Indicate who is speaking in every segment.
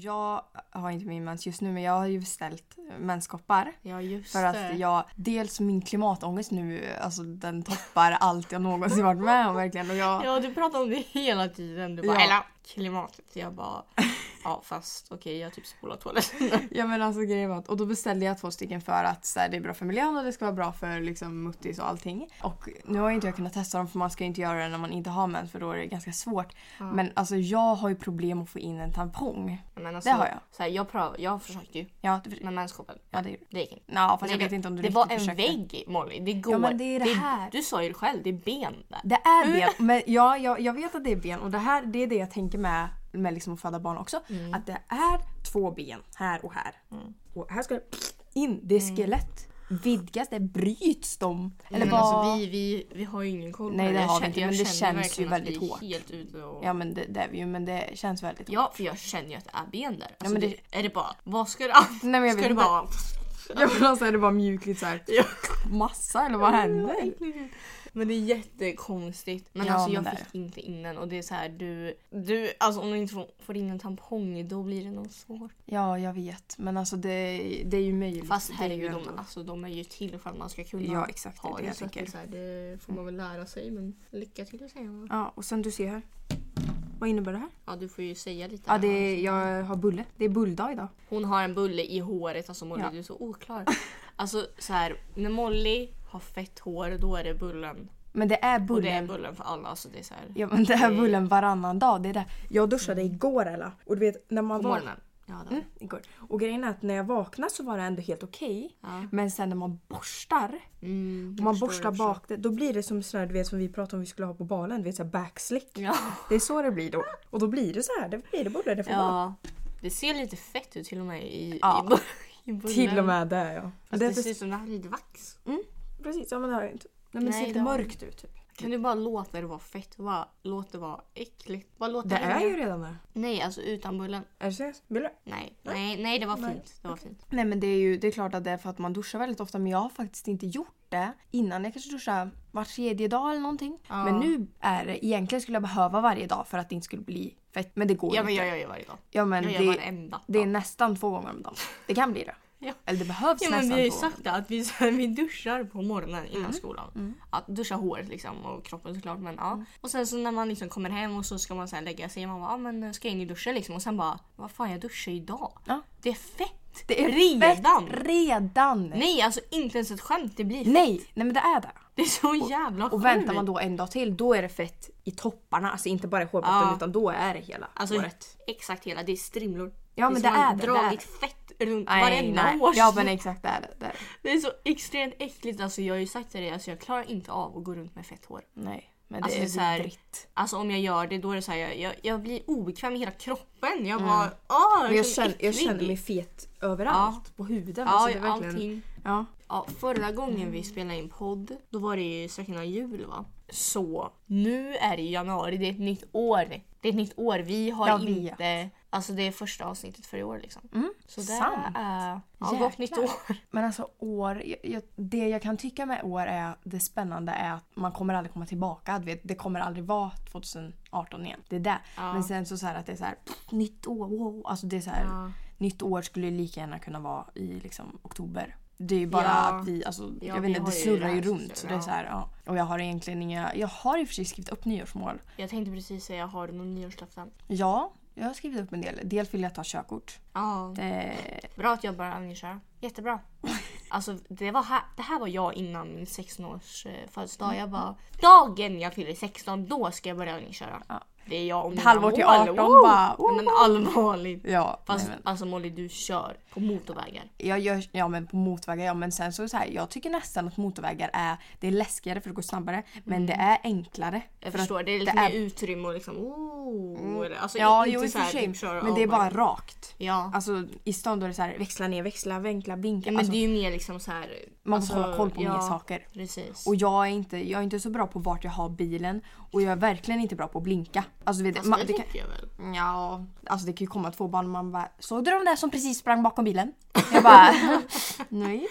Speaker 1: jag har inte min mens just nu men jag har ju beställt menskoppar.
Speaker 2: Ja just
Speaker 1: För att jag, dels min klimatångest nu, alltså den toppar allt jag någonsin varit med om verkligen. Och jag,
Speaker 2: Ja du pratar om det hela tiden. Du bara
Speaker 1: Ja.
Speaker 2: eller klimatet. Jag bara ja fast okej jag typ spolar toaletten.
Speaker 1: ja men alltså grejen var att, och då beställde jag två stycken för att så här, det är bra för miljön och det ska vara bra för liksom muttis och allting. Och nu har ju inte jag kunnat testa dem för man ska ju inte göra det när man inte har mens för då är det ganska svårt. Men alltså jag har ju problem att få in en tampong.
Speaker 2: Men alltså-
Speaker 1: Det har jag.
Speaker 2: Så här, jag, pröv, jag försökte ju
Speaker 1: Ja, det,
Speaker 2: med menskoppen.
Speaker 1: ja det är
Speaker 2: Det gick inte.
Speaker 1: Ja, fast
Speaker 2: Nej,
Speaker 1: jag vet
Speaker 2: det-
Speaker 1: inte om du
Speaker 2: det
Speaker 1: riktigt
Speaker 2: var en
Speaker 1: försökte.
Speaker 2: vägg Molly, det går.
Speaker 1: men det är det här.
Speaker 2: Du sa ju själv, det är ben där.
Speaker 1: Det är
Speaker 2: Mm.
Speaker 1: ben. Men ja, jag, jag vet att det är ben och det här det är det jag tänker med, med liksom att föda barn också.
Speaker 2: Mm.
Speaker 1: Att det är två ben här och här. Och här ska det in. Det
Speaker 2: Mm.
Speaker 1: är skelett. Vidgas det? Bryts de? Eller
Speaker 2: men
Speaker 1: vad?
Speaker 2: alltså, vi, vi, vi har ju ingen koll på
Speaker 1: Nej, det
Speaker 2: Jag
Speaker 1: har vi
Speaker 2: känner-
Speaker 1: inte,
Speaker 2: jag
Speaker 1: men det
Speaker 2: känner
Speaker 1: känns
Speaker 2: verkligen
Speaker 1: ju
Speaker 2: att vi
Speaker 1: väldigt
Speaker 2: är
Speaker 1: hårt.
Speaker 2: Helt ute och...
Speaker 1: Ja men det, det är vi ju men det känns väldigt
Speaker 2: Ja, för jag känner ju att det är ben där. Alltså,
Speaker 1: men det-
Speaker 2: det... Är det bara... Vad ska det...
Speaker 1: Nej, men jag vet
Speaker 2: ska det
Speaker 1: inte.
Speaker 2: bara...
Speaker 1: Ja men alltså är det bara mjukligt såhär
Speaker 2: Ja. Mm.
Speaker 1: massa eller vad händer?
Speaker 2: Men det är jättekonstigt. Men
Speaker 1: Ja,
Speaker 2: alltså jag
Speaker 1: men det är
Speaker 2: fick inte in den och det är så här du... du alltså om du inte får, får in en tampong då blir det nog svårt.
Speaker 1: Ja jag vet men alltså det, det är ju möjligt.
Speaker 2: Fast
Speaker 1: Det är
Speaker 2: herregud,
Speaker 1: ändå-
Speaker 2: de, alltså, de är ju till för att man ska kunna
Speaker 1: Ja, exakt, det är
Speaker 2: ha
Speaker 1: det jag
Speaker 2: Så att
Speaker 1: tänker.
Speaker 2: det, är så här, det får man väl lära sig men lycka till säger man.
Speaker 1: Ja och sen du ser här. Vad innebär det här?
Speaker 2: Ja du får ju säga lite.
Speaker 1: Ja
Speaker 2: här,
Speaker 1: det är,
Speaker 2: alltså.
Speaker 1: jag har bulle. Det är bulldag idag.
Speaker 2: Hon har en bulle i håret, alltså Molly
Speaker 1: Ja.
Speaker 2: du är så oklar. Alltså så här, när Molly har fett hår då är det bullen.
Speaker 1: Men det är
Speaker 2: Och
Speaker 1: bullen.
Speaker 2: det är bullen för alla. Alltså, det är så här.
Speaker 1: Ja men det är bullen varannan dag. Det är det. Jag duschade igår Ella. Och du vet när man
Speaker 2: På
Speaker 1: var...
Speaker 2: morgonen. Ja, det.
Speaker 1: Mm, igår. Och grejen är att när jag vaknade så var det ändå helt okej.
Speaker 2: Ja.
Speaker 1: Men sen när man borstar,
Speaker 2: Mm,
Speaker 1: om
Speaker 2: jag
Speaker 1: man
Speaker 2: förstår,
Speaker 1: borstar
Speaker 2: jag förstår.
Speaker 1: bak det, då blir det som sån här, du vet som vi pratade om vi skulle ha på balen, du vet såhär backslick.
Speaker 2: Ja.
Speaker 1: Det är så det blir då. Och då blir det så här, det blir det bullar, det får vara.
Speaker 2: ja. Det ser lite fett ut till och med i,
Speaker 1: Ja.
Speaker 2: i, bu- i bullen.
Speaker 1: Till och med det ja.
Speaker 2: Fast
Speaker 1: det
Speaker 2: det,
Speaker 1: är
Speaker 2: ser
Speaker 1: precis,
Speaker 2: ut som det här är lite vax.
Speaker 1: precis, ja men det har jag inte. Nej men det
Speaker 2: Nej,
Speaker 1: ser lite
Speaker 2: det har jag
Speaker 1: mörkt ut typ.
Speaker 2: Kan du bara låta det vara fett? Bara, låt det vara äckligt. Bara låt
Speaker 1: Det är
Speaker 2: regna.
Speaker 1: ju redan det.
Speaker 2: Nej, alltså utan bullen.
Speaker 1: Är det seriöst? Vill du?
Speaker 2: Nej, nej, nej det var
Speaker 1: Nej.
Speaker 2: fint. Det var fint.
Speaker 1: Nej men det är ju det är klart att det är för att man duschar väldigt ofta men jag har faktiskt inte gjort det innan. Jag kanske duschar var tredje dag eller någonting.
Speaker 2: Ja.
Speaker 1: Men nu är det, egentligen skulle jag behöva varje dag för att det inte skulle bli fett. Men det går
Speaker 2: Ja
Speaker 1: ju
Speaker 2: men
Speaker 1: inte.
Speaker 2: jag gör ju varje dag.
Speaker 1: ja men
Speaker 2: jag gör
Speaker 1: det,
Speaker 2: varenda
Speaker 1: det är
Speaker 2: dag.
Speaker 1: nästan två gånger om dagen. Det kan bli det.
Speaker 2: Ja.
Speaker 1: Eller det behövs
Speaker 2: Ja, men
Speaker 1: nästan
Speaker 2: vi har ju
Speaker 1: två gånger.
Speaker 2: sagt det, att vi, så här, vi duschar på morgonen innan skolan. Att duscha håret liksom och kroppen såklart. Men, ja. Och sen så när man liksom kommer hem och så ska man så här lägga sig. Man bara, ja, men ska jag in i duschen liksom? Och sen bara, vad fan jag duschar idag.
Speaker 1: Ja.
Speaker 2: Det är fett!
Speaker 1: Det är
Speaker 2: redan!
Speaker 1: Fett redan! Nej.
Speaker 2: Nej alltså inte ens ett skämt, det blir fett.
Speaker 1: nej! men det är det.
Speaker 2: Det är så jävla
Speaker 1: Och väntar man då en dag till då är det fett i topparna. Alltså inte bara i hårbotten
Speaker 2: Ja.
Speaker 1: utan då är det hela
Speaker 2: Alltså
Speaker 1: håret.
Speaker 2: exakt hela, det är strimlor.
Speaker 1: Ja, men
Speaker 2: som
Speaker 1: det är
Speaker 2: har
Speaker 1: det, det är
Speaker 2: dragit fett runt varenda år.
Speaker 1: Ja men exakt det är det. det, är det.
Speaker 2: Det är så extremt äckligt. Alltså jag har ju sagt till dig, alltså, jag klarar inte av att gå runt med fett hår.
Speaker 1: Nej. Men det
Speaker 2: Alltså,
Speaker 1: är
Speaker 2: det är så här-
Speaker 1: vidrigt.
Speaker 2: Alltså om jag gör det då är det så här, jag, jag, jag blir obekväm i hela kroppen. Jag bara åh!
Speaker 1: Mm. Men jag,
Speaker 2: så
Speaker 1: känner, jag
Speaker 2: äcklig."
Speaker 1: känner mig fet överallt. På huden.
Speaker 2: Ja,
Speaker 1: alltså, det är verkligen...
Speaker 2: allting.
Speaker 1: Ja.
Speaker 2: Ja, förra gången vi spelade in podd, då var det ju strax innan jul va? Så nu är det ju januari, det är ett nytt år. Det är ett nytt år, vi har
Speaker 1: Jag vet. Mm,
Speaker 2: inte... Alltså det är första avsnittet för i år liksom. så det
Speaker 1: sant.
Speaker 2: är... Ja, gott nytt
Speaker 1: Jäklar.
Speaker 2: år.
Speaker 1: Men alltså år, jag, jag, det jag kan tycka med år är det spännande är att man kommer aldrig komma tillbaka. Du vet, det kommer aldrig vara 2018 igen. Det är det.
Speaker 2: Ja.
Speaker 1: Men sen så, så här att det är så här, pff, nytt år, wow. Alltså det är så här,
Speaker 2: Ja.
Speaker 1: nytt år skulle ju lika gärna kunna vara i liksom oktober. Det är ju bara
Speaker 2: Ja.
Speaker 1: att vi, alltså,
Speaker 2: Ja,
Speaker 1: jag
Speaker 2: vi
Speaker 1: vet inte,
Speaker 2: har
Speaker 1: det
Speaker 2: ju
Speaker 1: snurrar ju
Speaker 2: det här som
Speaker 1: runt. Så det
Speaker 2: snurrar,
Speaker 1: är så här, ja. Och jag har egentligen inga, jag har i och för sig skrivit upp nyårsmål.
Speaker 2: Jag tänkte precis säga, har du någon nyårslöften?
Speaker 1: Ja, jag har skrivit upp en del. Dels vill jag ta körkort.
Speaker 2: Ja.
Speaker 1: Eh,
Speaker 2: Bra att jag börjar övningsköra. Jättebra. Alltså det, var här, det här var jag innan min 16-års eh,
Speaker 1: Mm.
Speaker 2: födelsedag. Jag bara, dagen jag fyller 16 då ska jag börja övningsköra.
Speaker 1: Ja.
Speaker 2: Det är jag och mina
Speaker 1: halvår till
Speaker 2: mål.
Speaker 1: 18
Speaker 2: Wow!
Speaker 1: bara,
Speaker 2: Nej, Men allvarligt.
Speaker 1: Ja,
Speaker 2: Fast
Speaker 1: nej, men,
Speaker 2: alltså Molly du kör på motorvägar.
Speaker 1: jag gör, ja men på motorvägar ja men sen så, är det så här, jag tycker nästan att motorvägar är, det är läskigare för det går snabbare men det är enklare.
Speaker 2: Mm. Jag
Speaker 1: för
Speaker 2: förstår,
Speaker 1: att
Speaker 2: det är lite
Speaker 1: det
Speaker 2: mer
Speaker 1: är- Mm.
Speaker 2: utrymme och liksom oh, eller- alltså,
Speaker 1: Ja
Speaker 2: inte
Speaker 1: jo i och
Speaker 2: så
Speaker 1: för
Speaker 2: här, typ
Speaker 1: sig
Speaker 2: köra
Speaker 1: men det är
Speaker 2: av
Speaker 1: bara
Speaker 2: varandra.
Speaker 1: rakt.
Speaker 2: Ja.
Speaker 1: Alltså i stan då är det så här växla ner, växla, vinkla, blinka.
Speaker 2: ja men
Speaker 1: alltså,
Speaker 2: det är ju mer liksom så här.
Speaker 1: man
Speaker 2: alltså,
Speaker 1: får hålla koll på
Speaker 2: ja,
Speaker 1: mer saker.
Speaker 2: Precis.
Speaker 1: Och jag är, inte, jag är inte så bra på vart jag har bilen och jag är verkligen inte bra på att blinka. Alltså, du vet,
Speaker 2: alltså,
Speaker 1: man-
Speaker 2: det,
Speaker 1: det kan,
Speaker 2: tycker jag väl.
Speaker 1: Ja, alltså det kan ju komma två barn och man bara “Såg du de där som precis sprang bakom bilen?” Jag bara “Nej”.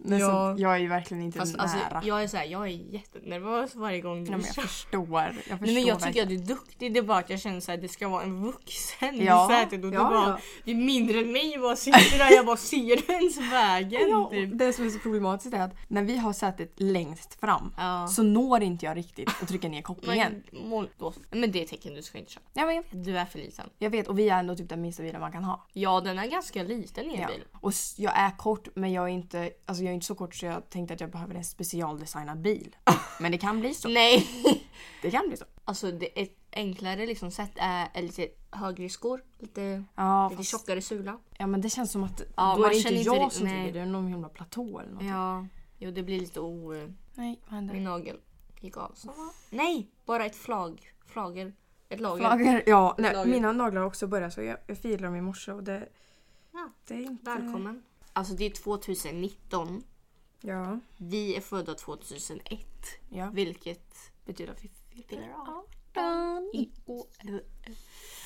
Speaker 1: Men
Speaker 2: Ja.
Speaker 1: så, jag är ju verkligen inte
Speaker 2: Fast,
Speaker 1: nära.
Speaker 2: alltså, jag är så här, jag är jättenervös varje gång
Speaker 1: Nej,
Speaker 2: du
Speaker 1: men
Speaker 2: kör.
Speaker 1: jag förstår. Jag förstår
Speaker 2: Nej, men jag tycker
Speaker 1: verkligen.
Speaker 2: att du är duktig, det är bara att jag känner så här, det ska vara en vuxen
Speaker 1: Ja,
Speaker 2: i sätet och du
Speaker 1: ja,
Speaker 2: bara,
Speaker 1: ja.
Speaker 2: det är mindre än mig, jag bara sitter där, jag bara ser ens vägen.
Speaker 1: Ja,
Speaker 2: typ.
Speaker 1: och det som är så problematiskt är att när vi har sätet längst fram
Speaker 2: Ja.
Speaker 1: så når inte jag riktigt att trycka ner kopplingen.
Speaker 2: Men, mål, då, men det är tecken du ska inte köra.
Speaker 1: Ja, men jag, vet,
Speaker 2: Du är för liten.
Speaker 1: jag vet och vi är ändå typ den minsta bilen man kan ha.
Speaker 2: Ja, den är ganska liten i en
Speaker 1: Ja.
Speaker 2: bil.
Speaker 1: Och s- jag är kort men jag är, inte, alltså jag är inte så kort så jag tänkte att jag behöver en specialdesignad bil. Men det kan bli så.
Speaker 2: Nej!
Speaker 1: Det kan bli så.
Speaker 2: Alltså det ett enklare liksom sätt är är lite högre skor, lite,
Speaker 1: Ja,
Speaker 2: lite
Speaker 1: fast,
Speaker 2: tjockare sula.
Speaker 1: ja men det känns som att
Speaker 2: Ja,
Speaker 1: då är
Speaker 2: man
Speaker 1: det inte
Speaker 2: känner inte
Speaker 1: jag
Speaker 2: riktigt-
Speaker 1: som
Speaker 2: nej.
Speaker 1: tycker det är någon himla platå eller något.
Speaker 2: Ja. Typ. Jo, det blir lite o... eh,
Speaker 1: Nej, vad
Speaker 2: Min
Speaker 1: händer?
Speaker 2: nagel gick av. Så. Nej, bara ett flag. Flagel. Ett lager.
Speaker 1: Flaggar, ja, nej,
Speaker 2: Lager.
Speaker 1: mina naglar har också börjat så jag, jag filade dem i morse och det...
Speaker 2: Ja,
Speaker 1: det är inte...
Speaker 2: Välkommen. Alltså det är 2019.
Speaker 1: Ja.
Speaker 2: Vi är födda 2001.
Speaker 1: ja.
Speaker 2: Vilket betyder att vi fyller 18 i år.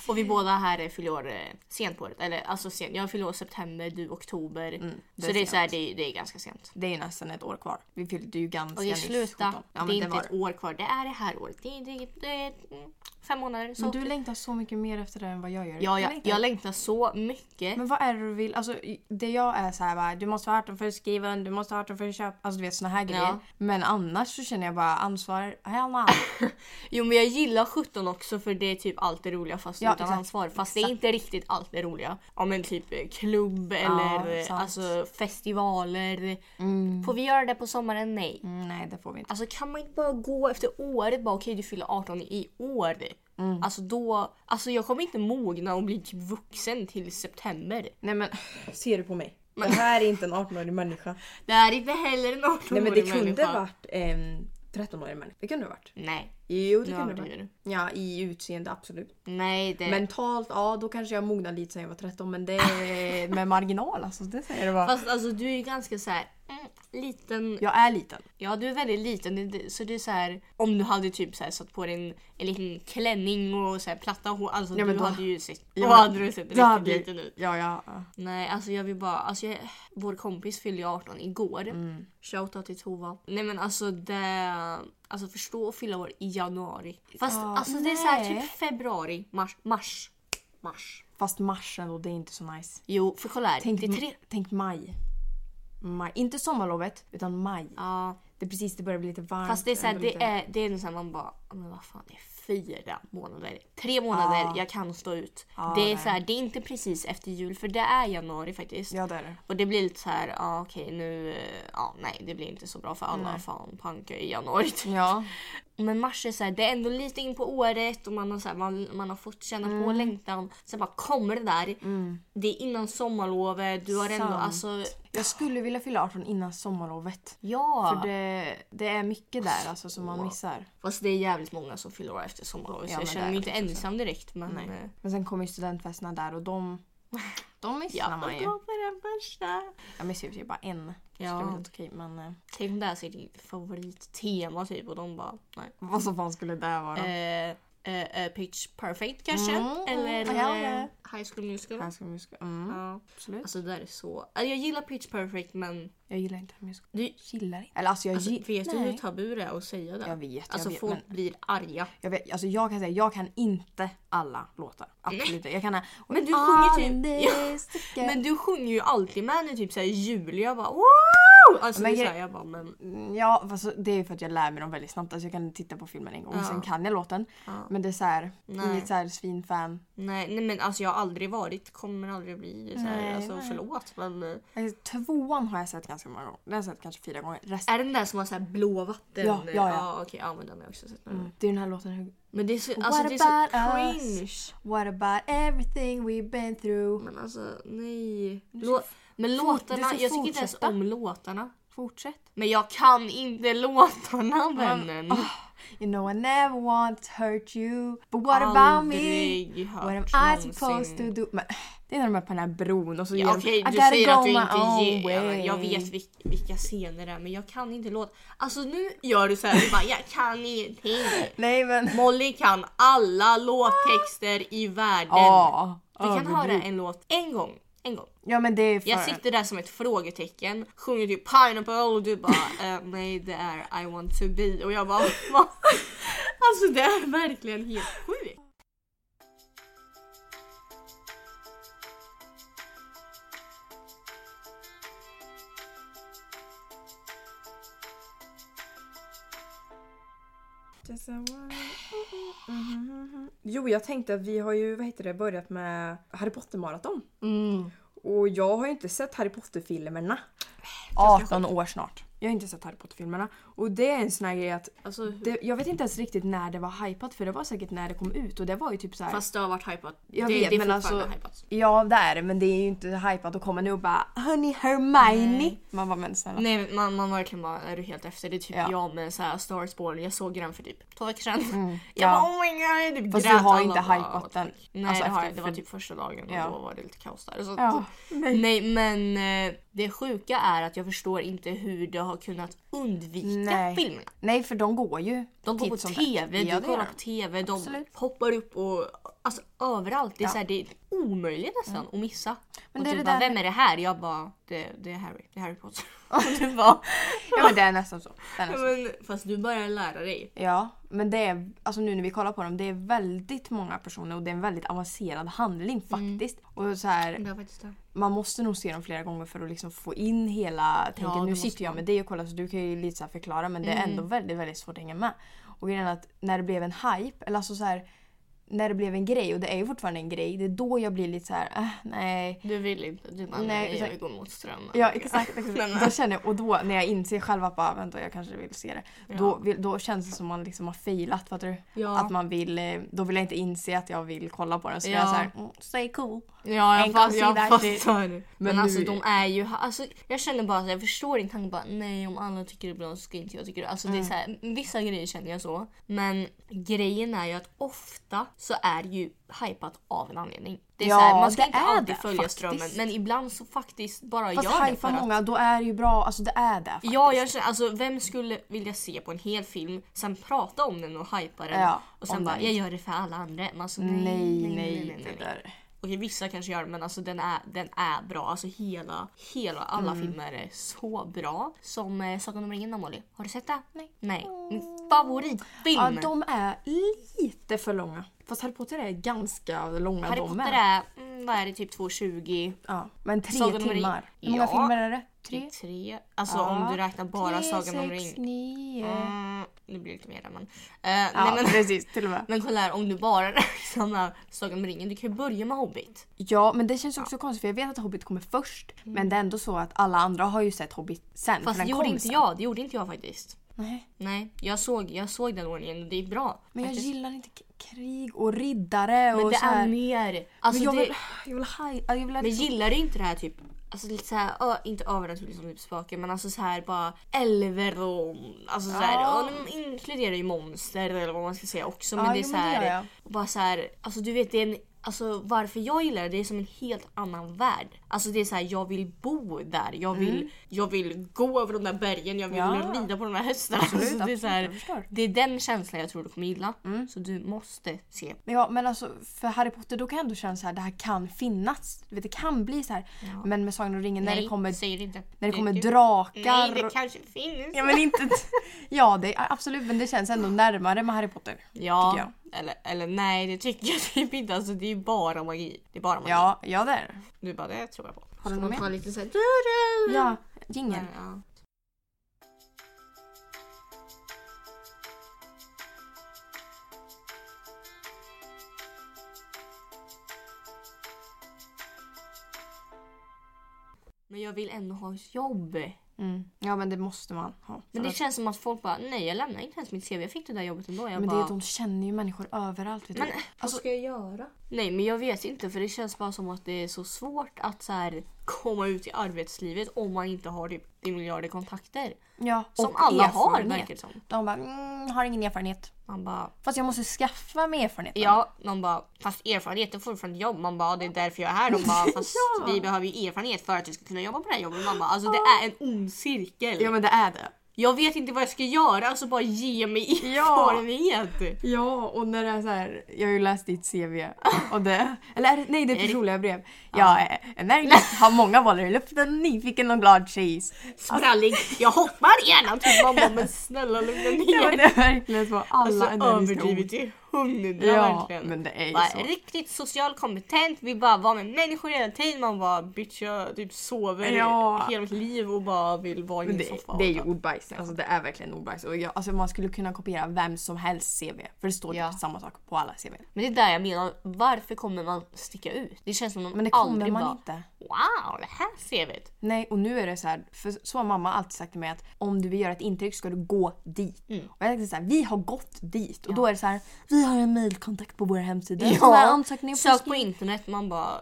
Speaker 2: Och vi båda här är- fyller år eh, sent på året. Eller alltså sent. Jag fyller år september, du oktober.
Speaker 1: Mm, det
Speaker 2: så
Speaker 1: är
Speaker 2: det är, så här,
Speaker 1: sent.
Speaker 2: det, är, det är ganska sent.
Speaker 1: Det är ju nästan ett år kvar. Vi fyllde ju ganska
Speaker 2: Okej,
Speaker 1: nyss
Speaker 2: sluta.
Speaker 1: 17. Ja, men
Speaker 2: det
Speaker 1: det,
Speaker 2: är inte
Speaker 1: var
Speaker 2: ett
Speaker 1: det.
Speaker 2: år kvar. Det är det här året. Det är, det är, det är mm, fem månader. Så
Speaker 1: Men du längtar så mycket mer efter det än vad jag gör.
Speaker 2: ja,
Speaker 1: jag
Speaker 2: jag, jag längtar så mycket.
Speaker 1: Men vad är det du vill? Alltså, det jag är så här bara, du måste vara 18 för att skriva, du måste vara 18 för att köpa. Alltså du vet såna här grejer.
Speaker 2: Ja.
Speaker 1: Men annars så känner jag bara ansvar, hell no.
Speaker 2: Jo men jag gillar 17 också för det är typ allt det roliga fast
Speaker 1: Ja,
Speaker 2: utan
Speaker 1: exakt.
Speaker 2: ansvar. Fast det är inte riktigt allt det roliga. Ja men typ eh, klubb eller eh,
Speaker 1: sant.
Speaker 2: alltså, festivaler. Får vi göra det på sommaren? Nej.
Speaker 1: Mm, nej det får vi inte.
Speaker 2: Alltså kan man inte bara gå efter året bara okej du fyller 18 i år.
Speaker 1: Mm.
Speaker 2: Alltså då, alltså jag kommer inte mogna och bli typ vuxen till september.
Speaker 1: Nej men, ser du på mig? Det här är inte en 18-årig människa.
Speaker 2: Det här är inte heller en 18-årig
Speaker 1: Nej men det kunde
Speaker 2: människa.
Speaker 1: varit en 13-årig människa. Det kunde det varit.
Speaker 2: Nej.
Speaker 1: Jo det
Speaker 2: Nu
Speaker 1: kunde det
Speaker 2: överdriver
Speaker 1: varit. Ja i utseende absolut.
Speaker 2: Eh. Nej det...
Speaker 1: Mentalt, ja då kanske jag mognade lite sen jag var 13 men det är med marginal alltså. Det säger jag bara.
Speaker 2: Fast alltså du är ju ganska så här mm, liten
Speaker 1: Jag är liten.
Speaker 2: Ja, du är väldigt liten. Det- det- Så det är så här, om du hade typ så här, satt på dig en, en liten klänning och så här, platta hår. Alltså
Speaker 1: Ja,
Speaker 2: du
Speaker 1: men då-
Speaker 2: hade ju sett,
Speaker 1: Ja,
Speaker 2: då
Speaker 1: men-
Speaker 2: hade du sett
Speaker 1: då hade
Speaker 2: riktigt liten ut.
Speaker 1: Ja, ja. ja.
Speaker 2: Nej, alltså jag vill bara, alltså jag, vår kompis fyllde ju 18 igår.
Speaker 1: Mm.
Speaker 2: Shoutout till Tova. Nej men alltså det, alltså förstå att fylla år i januari. Fast
Speaker 1: Ja,
Speaker 2: alltså det är så här
Speaker 1: nej.
Speaker 2: typ februari, mars, mars, mars.
Speaker 1: Fast mars ändå, det är inte så nice.
Speaker 2: Jo, för kolla här.
Speaker 1: Tänk,
Speaker 2: det är tre...
Speaker 1: tänk maj. maj. Inte sommarlovet, utan maj.
Speaker 2: Ja,
Speaker 1: Det är precis, det börjar bli lite varmt.
Speaker 2: Fast det är såhär,
Speaker 1: ändå lite-
Speaker 2: det är, det är så här, man bara, "Ja, men vad fan det är fyra månader. Tre månader,
Speaker 1: Ja.
Speaker 2: jag kan stå ut.
Speaker 1: Ja,
Speaker 2: det är
Speaker 1: det.
Speaker 2: så här, det är inte precis efter jul för det är januari faktiskt.
Speaker 1: Ja, det är det.
Speaker 2: Och det blir lite så här, ja okej nu, eh, ja nej det blir inte så bra för alla fan pankar i januari. typ.
Speaker 1: Ja.
Speaker 2: Men mars är så här, det är ändå lite in på året och man har, så här, man, man har fått känna
Speaker 1: Mm.
Speaker 2: på längtan. Sen bara kommer det där. Det är innan sommarlovet, du har ändå
Speaker 1: Sant.
Speaker 2: alltså,
Speaker 1: Jag skulle vilja fylla 18 innan sommarlovet.
Speaker 2: ja.
Speaker 1: För det, det är mycket där alltså, som man missar.
Speaker 2: Fast det är jävligt många som fyller år efter sommarlovet
Speaker 1: Ja,
Speaker 2: så jag
Speaker 1: men
Speaker 2: känner
Speaker 1: det
Speaker 2: mig
Speaker 1: är
Speaker 2: inte ensam direkt. Men, eh,
Speaker 1: Men sen kommer ju studentfesterna där och de, de missar man ju.
Speaker 2: kommer den första.
Speaker 1: Jag missar ju typ bara en. Så det
Speaker 2: Ja.
Speaker 1: är väl helt okej men... eh,
Speaker 2: Tänk om det här är ditt favorittema typ och de bara nej.
Speaker 1: Vad som fan skulle det vara?
Speaker 2: Eh, eh, eh, pitch perfect kanske?
Speaker 1: Mm,
Speaker 2: Eller
Speaker 1: mm, ja,
Speaker 2: eh,
Speaker 1: ja.
Speaker 2: High School Musical?
Speaker 1: Här ska vi ska, mm,
Speaker 2: Ja.
Speaker 1: absolut.
Speaker 2: Alltså det där är så... Alltså, jag gillar pitch perfect men
Speaker 1: Jag gillar inte musical.
Speaker 2: Du-
Speaker 1: gillar inte? Eller alltså jag
Speaker 2: alltså,
Speaker 1: gi-
Speaker 2: vet du
Speaker 1: Nej.
Speaker 2: hur tabu det är att säga det?
Speaker 1: Jag vet, jag
Speaker 2: alltså
Speaker 1: vet,
Speaker 2: folk
Speaker 1: men-
Speaker 2: blir arga.
Speaker 1: Jag, vet, alltså jag kan säga, jag kan inte alla låtar. Absolut inte. Jag kan...
Speaker 2: Eh. Men du sjunger typ-
Speaker 1: typ... Ja.
Speaker 2: Men du sjunger ju alltid med när typ såhär jul jag bara wow! Alltså
Speaker 1: Men
Speaker 2: det är
Speaker 1: gre-
Speaker 2: såhär, jag bara men
Speaker 1: Men, Mm, ja, fast så- det är för att jag lär mig dem väldigt snabbt. Alltså jag kan titta på filmen en gång och sen kan jag låten. Men det är såhär,
Speaker 2: Nej.
Speaker 1: inget såhär svinfan.
Speaker 2: nej, nej men alltså jag har aldrig varit, kommer aldrig bli det såhär.
Speaker 1: Nej,
Speaker 2: Alltså
Speaker 1: nej.
Speaker 2: förlåt men. eh,
Speaker 1: Alltså, tvåan har jag sett ganska många gånger. Den har jag sett kanske fyra gånger. Resten,
Speaker 2: Är det den där som har så här blå vatten?
Speaker 1: Ja, ja, ja.
Speaker 2: okej, ja men den har jag också sett några gånger.
Speaker 1: det är den här låten. hur-
Speaker 2: Men det är så, alltså,
Speaker 1: What
Speaker 2: det är så
Speaker 1: about us?
Speaker 2: cringe.
Speaker 1: What about everything we've been through.
Speaker 2: Men alltså nej. Lå, men
Speaker 1: du
Speaker 2: låtarna,
Speaker 1: ska
Speaker 2: jag tycker inte ens
Speaker 1: fortsätta.
Speaker 2: om låtarna.
Speaker 1: Fortsätt.
Speaker 2: Men jag kan inte låtarna vännen.
Speaker 1: You know I never want to hurt you. But what about me?
Speaker 2: Aldrig hört
Speaker 1: What am I supposed
Speaker 2: någonsin.
Speaker 1: to do? Men, det är när de är på den här bron och så
Speaker 2: Ja, Okej,
Speaker 1: de,
Speaker 2: du
Speaker 1: gotta
Speaker 2: säger att
Speaker 1: go
Speaker 2: du
Speaker 1: my
Speaker 2: inte
Speaker 1: own
Speaker 2: ger... Ja, men jag
Speaker 1: way.
Speaker 2: vet vil, vilka scener det är men jag kan inte låta. Alltså nu gör du så här, du bara jag kan ingenting.
Speaker 1: Nej men...
Speaker 2: Molly kan alla låttexter i världen.
Speaker 1: Ja.
Speaker 2: Vi kan höra
Speaker 1: överdriv.
Speaker 2: en låt en gång. En gång.
Speaker 1: Ja men det är för...
Speaker 2: Jag sitter där som ett frågetecken, sjunger typ pineapple och du bara eh, nej det är I want to be och jag bara Va? Alltså det är verkligen helt sjukt.
Speaker 1: Mm-hmm, Jo, jag tänkte att vi har ju vad heter det, börjat med Harry Potter-maraton. Mm. Och jag har ju inte sett Harry Potter-filmerna. 18 år snart. Jag har inte sett Harry Potter-filmerna. Och det är en sån här grej att
Speaker 2: Alltså, hur-
Speaker 1: det, jag vet inte ens riktigt när det var hypat för det var säkert när det kom ut och det var ju typ så här.
Speaker 2: fast det har varit hypat.
Speaker 1: Jag
Speaker 2: det,
Speaker 1: vet,
Speaker 2: det är
Speaker 1: men
Speaker 2: fortfarande
Speaker 1: alltså-
Speaker 2: hypat.
Speaker 1: Ja det är det men det är ju inte hypat att komma nu och bara Honey Hermione. Man bara men snälla.
Speaker 2: Nej men man, man verkligen bara är du helt efter. Det är typ
Speaker 1: Ja.
Speaker 2: jag med så här Star is Born. Jag såg den för typ två veckor sedan. Jag
Speaker 1: Mm. ja.
Speaker 2: bara oh my god. Typ
Speaker 1: Fast du
Speaker 2: grät
Speaker 1: har
Speaker 2: alla
Speaker 1: inte
Speaker 2: bara,
Speaker 1: hypat den.
Speaker 2: Nej
Speaker 1: Alltså,
Speaker 2: det har
Speaker 1: efter-
Speaker 2: jag inte. Det var
Speaker 1: för-
Speaker 2: typ första dagen och
Speaker 1: Ja.
Speaker 2: då var det lite kaos där. Så,
Speaker 1: Ja.
Speaker 2: nej. men eh, det sjuka är att jag förstår inte hur det har kunnat undvika
Speaker 1: Nej.
Speaker 2: filmerna.
Speaker 1: Nej för de går ju.
Speaker 2: De går på
Speaker 1: titt som
Speaker 2: TV,
Speaker 1: tätt. Ja,
Speaker 2: du
Speaker 1: det
Speaker 2: kollar
Speaker 1: gör de.
Speaker 2: på TV, de
Speaker 1: Absolut.
Speaker 2: hoppar upp och alltså överallt. Det är,
Speaker 1: Ja. Mm.
Speaker 2: så här, det är omöjligt nästan att missa.
Speaker 1: Men
Speaker 2: och
Speaker 1: det är
Speaker 2: du
Speaker 1: det
Speaker 2: bara,
Speaker 1: där-
Speaker 2: vem är det här? Jag bara, det, det är Harry. Det är Harry Potter. och du bara,
Speaker 1: Ja men det är nästan så. Det är nästan så.
Speaker 2: men, fast du börjar lära dig.
Speaker 1: Ja, men det är, alltså nu när vi kollar på dem, det är väldigt många personer och det är en väldigt avancerad handling
Speaker 2: Mm.
Speaker 1: faktiskt. Och så här,
Speaker 2: Det faktiskt det.
Speaker 1: man måste nog se dem flera gånger för att liksom få in hela tänket.
Speaker 2: det
Speaker 1: nu
Speaker 2: måste Mm.
Speaker 1: sitter jag med dig och kollar så du kan ju lite så här förklara men det är ändå väldigt, väldigt svårt att hänga med. Och grejen är att när det blev en hype, eller alltså så här, när det blev en grej och det är ju fortfarande en grej, det är då jag blir lite så här, äh, nej.
Speaker 2: Du vill inte. Du bara,
Speaker 1: Nej,
Speaker 2: nej, jag
Speaker 1: exakt.
Speaker 2: vill gå mot strömmen.
Speaker 1: Ja exakt.
Speaker 2: Nej,
Speaker 1: exakt.
Speaker 2: men- eh.
Speaker 1: Då känner jag, och då när jag inser själv att bara, vänta jag kanske vill se det. Då, vill- då känns det som man liksom har failat fattar du?
Speaker 2: Ja.
Speaker 1: Att man vill, eh, då vill jag inte inse att jag vill kolla på den så
Speaker 2: Ja.
Speaker 1: jag är såhär, mm, stay cool.
Speaker 2: Ja, jag,
Speaker 1: En typ.
Speaker 2: fast,
Speaker 1: gång
Speaker 2: jag
Speaker 1: sida shit.
Speaker 2: fattar. Men,
Speaker 1: Men
Speaker 2: alltså
Speaker 1: nu-
Speaker 2: de är ju... Alltså, jag känner bara att jag förstår din tanke bara nej om alla tycker det är bra så ska inte jag tycka det. Alltså,
Speaker 1: Mm.
Speaker 2: det är så här, vissa grejer känner jag så. Men grejen är ju att ofta så är ju hypat av en anledning. Det är
Speaker 1: Ja,
Speaker 2: så här, man ska
Speaker 1: det
Speaker 2: inte
Speaker 1: är
Speaker 2: alltid
Speaker 1: det,
Speaker 2: följa
Speaker 1: faktiskt.
Speaker 2: strömmen men ibland så faktiskt bara
Speaker 1: Fast
Speaker 2: gör det.
Speaker 1: hajpar
Speaker 2: för att-
Speaker 1: många då är det ju bra, alltså det är det faktiskt.
Speaker 2: Ja, jag känner, alltså, vem skulle vilja se på en hel film, sen prata om den och hypa den
Speaker 1: Ja,
Speaker 2: och sen
Speaker 1: om
Speaker 2: bara
Speaker 1: den.
Speaker 2: jag gör det för alla andra. Men alltså,
Speaker 1: Nej, nej,
Speaker 2: nej, nej, nej.
Speaker 1: det där.
Speaker 2: Okej vissa kanske gör det men alltså den är, den är bra. Alltså hela, hela alla
Speaker 1: Mm.
Speaker 2: filmer är så bra. Som eh, Sagan om ringen Molly. Har du sett det?
Speaker 1: Nej. Mm.
Speaker 2: Nej. Min favoritfilm!
Speaker 1: Ja, de är lite för långa. Fast Harry Potter är ganska långa
Speaker 2: Harry
Speaker 1: de
Speaker 2: Potter
Speaker 1: med.
Speaker 2: är, mm, vad är det, typ 2.20?
Speaker 1: Ja, men tre
Speaker 2: Sagan om ring-
Speaker 1: timmar. Hur många
Speaker 2: Ja.
Speaker 1: filmer är det? Tre?
Speaker 2: Tre. Alltså om du räknar bara Sagan om
Speaker 1: Tre, sex,
Speaker 2: ringen.
Speaker 1: nio.
Speaker 2: Mm, nu blir det lite mer men. Eh,
Speaker 1: Ja,
Speaker 2: nej, men,
Speaker 1: precis. Till och med.
Speaker 2: men kolla här om du bara räknar Sagan om ringen. Du kan ju börja med Hobbit.
Speaker 1: Ja, men det känns också konstigt för jag vet att Hobbit kommer först. Men det är ändå så att alla andra har ju sett Hobbit sen.
Speaker 2: Mm. Fast
Speaker 1: för
Speaker 2: det
Speaker 1: den
Speaker 2: gjorde
Speaker 1: kom
Speaker 2: inte
Speaker 1: sen.
Speaker 2: jag. Det gjorde inte jag faktiskt.
Speaker 1: Nej,
Speaker 2: Nej, jag såg, jag såg den ordningen och det är bra.
Speaker 1: men jag
Speaker 2: faktiskt.
Speaker 1: gillar inte k- krig och riddare
Speaker 2: Men
Speaker 1: och
Speaker 2: det
Speaker 1: så här.
Speaker 2: är mer... Alltså
Speaker 1: men jag
Speaker 2: men, det,
Speaker 1: vill, jag vill, haj- jag vill liksom- ha
Speaker 2: men gillar du inte det här typ... Alltså lite såhär, ö, inte övernaturligt som typ spöken men alltså såhär bara älver och... Alltså såhär,
Speaker 1: Ja.
Speaker 2: och de inkluderar ju monster eller vad man ska säga också men
Speaker 1: Ja,
Speaker 2: det är
Speaker 1: jo, men det gör
Speaker 2: såhär...
Speaker 1: jag.
Speaker 2: och Bara såhär, alltså du vet det är en... Alltså varför jag gillar det, det är som en helt annan värld. Alltså det är såhär, jag vill bo där. Jag vill, jag vill gå över de där bergen, jag vill
Speaker 1: Mm. Ja.
Speaker 2: rida på de där hästarna. Alltså, det, är
Speaker 1: absolut, jag
Speaker 2: såhär,
Speaker 1: förstår. Mm.
Speaker 2: det är den känslan jag tror du kommer gilla. Så du måste se
Speaker 1: Men Ja men alltså för Harry Potter då kan jag ändå känna så här det här kan finnas. Du vet, det kan bli så här. Men med Sagan om ringen när det kommer,
Speaker 2: säger det inte.
Speaker 1: när det kommer
Speaker 2: Du-
Speaker 1: drakar.
Speaker 2: Nej, det
Speaker 1: och-
Speaker 2: kanske finns.
Speaker 1: Ja men inte... ja det, absolut men det känns ändå närmare med Harry Potter.
Speaker 2: Ja,
Speaker 1: tycker
Speaker 2: eller, eller nej det tycker jag typ inte. Alltså det är ju bara magi. Det är bara magi.
Speaker 1: Ja, ja det är det.
Speaker 2: Du bara det tror jag på.
Speaker 1: Har du något mer?
Speaker 2: lite såhär... du-du.
Speaker 1: Ja, jingel.
Speaker 2: Ja. Men jag vill ändå ha ett jobb.
Speaker 1: Mm. Ja men det måste man ha.
Speaker 2: Men
Speaker 1: För
Speaker 2: det
Speaker 1: att-
Speaker 2: känns som att folk bara, nej jag lämnar inte ens mitt CV, jag fick det där jobbet ändå. Jag
Speaker 1: men det
Speaker 2: bara,
Speaker 1: är, de känner ju människor överallt. Vet
Speaker 2: Men
Speaker 1: du. Alltså,
Speaker 2: vad ska jag göra? Nej men jag vet inte för det känns bara som att det är så svårt att så här, komma ut i arbetslivet om man inte har typ 10 miljarder kontakter.
Speaker 1: Ja,
Speaker 2: Som
Speaker 1: och
Speaker 2: alla har
Speaker 1: erfarenhet.
Speaker 2: verkar det som.
Speaker 1: De bara mm, har ingen erfarenhet.
Speaker 2: Man bara,
Speaker 1: Fast jag måste skaffa mig erfarenheten.
Speaker 2: ja, någon bara, fast erfarenhet det får du från ett jobb. Man bara, det är därför jag är här. De bara, fast vi behöver ju erfarenhet för att du ska kunna jobba på det här jobbet. Man bara, alltså det är en ond cirkel.
Speaker 1: men det är det.
Speaker 2: Jag vet inte vad jag ska göra, alltså bara ge mig
Speaker 1: Ja.
Speaker 2: erfarenhet.
Speaker 1: Ja, och när det är så här, jag har ju läst ditt CV. Och det, eller är det- nej, det är
Speaker 2: Är det-
Speaker 1: personliga brev. Jag är energisk, har många bollar i luften, nyfiken och glad tjej.
Speaker 2: Sprallig. Jag hoppar gärna till mamma men snälla lugna
Speaker 1: Ja, men
Speaker 2: ner
Speaker 1: det är verkligen så. Alla
Speaker 2: Alltså
Speaker 1: energiska
Speaker 2: överdrivet
Speaker 1: ord.
Speaker 2: till hundra
Speaker 1: Ja,
Speaker 2: verkligen.
Speaker 1: men det är ju
Speaker 2: Bara
Speaker 1: så.
Speaker 2: riktigt social kompetent, vi bara var med människor hela tiden. Man bara bitch jag typ sover
Speaker 1: Ja.
Speaker 2: hela mitt liv och bara vill vara i
Speaker 1: Men
Speaker 2: min
Speaker 1: det,
Speaker 2: soffa. och
Speaker 1: det är ju
Speaker 2: bara-
Speaker 1: ordbajs. Alltså det är verkligen ordbajs. Och jag, alltså man skulle kunna kopiera vem som helst CV. För det står ju
Speaker 2: Ja.
Speaker 1: samma sak på alla CV.
Speaker 2: Men det är där jag menar, varför kommer man sticka ut? Det känns som att
Speaker 1: Men
Speaker 2: man
Speaker 1: det kommer
Speaker 2: aldrig
Speaker 1: man
Speaker 2: bara
Speaker 1: inte.
Speaker 2: Wow, det här CVt!
Speaker 1: Nej, och nu är det så här, för så har mamma alltid sagt till mig att om du vill göra ett intryck ska du gå dit.
Speaker 2: Mm.
Speaker 1: Och jag tänkte så här, vi har gått dit. Och då är det så här, vi har en mejlkontakt på vår hemsida. som är ansökningar på
Speaker 2: sök på internet man bara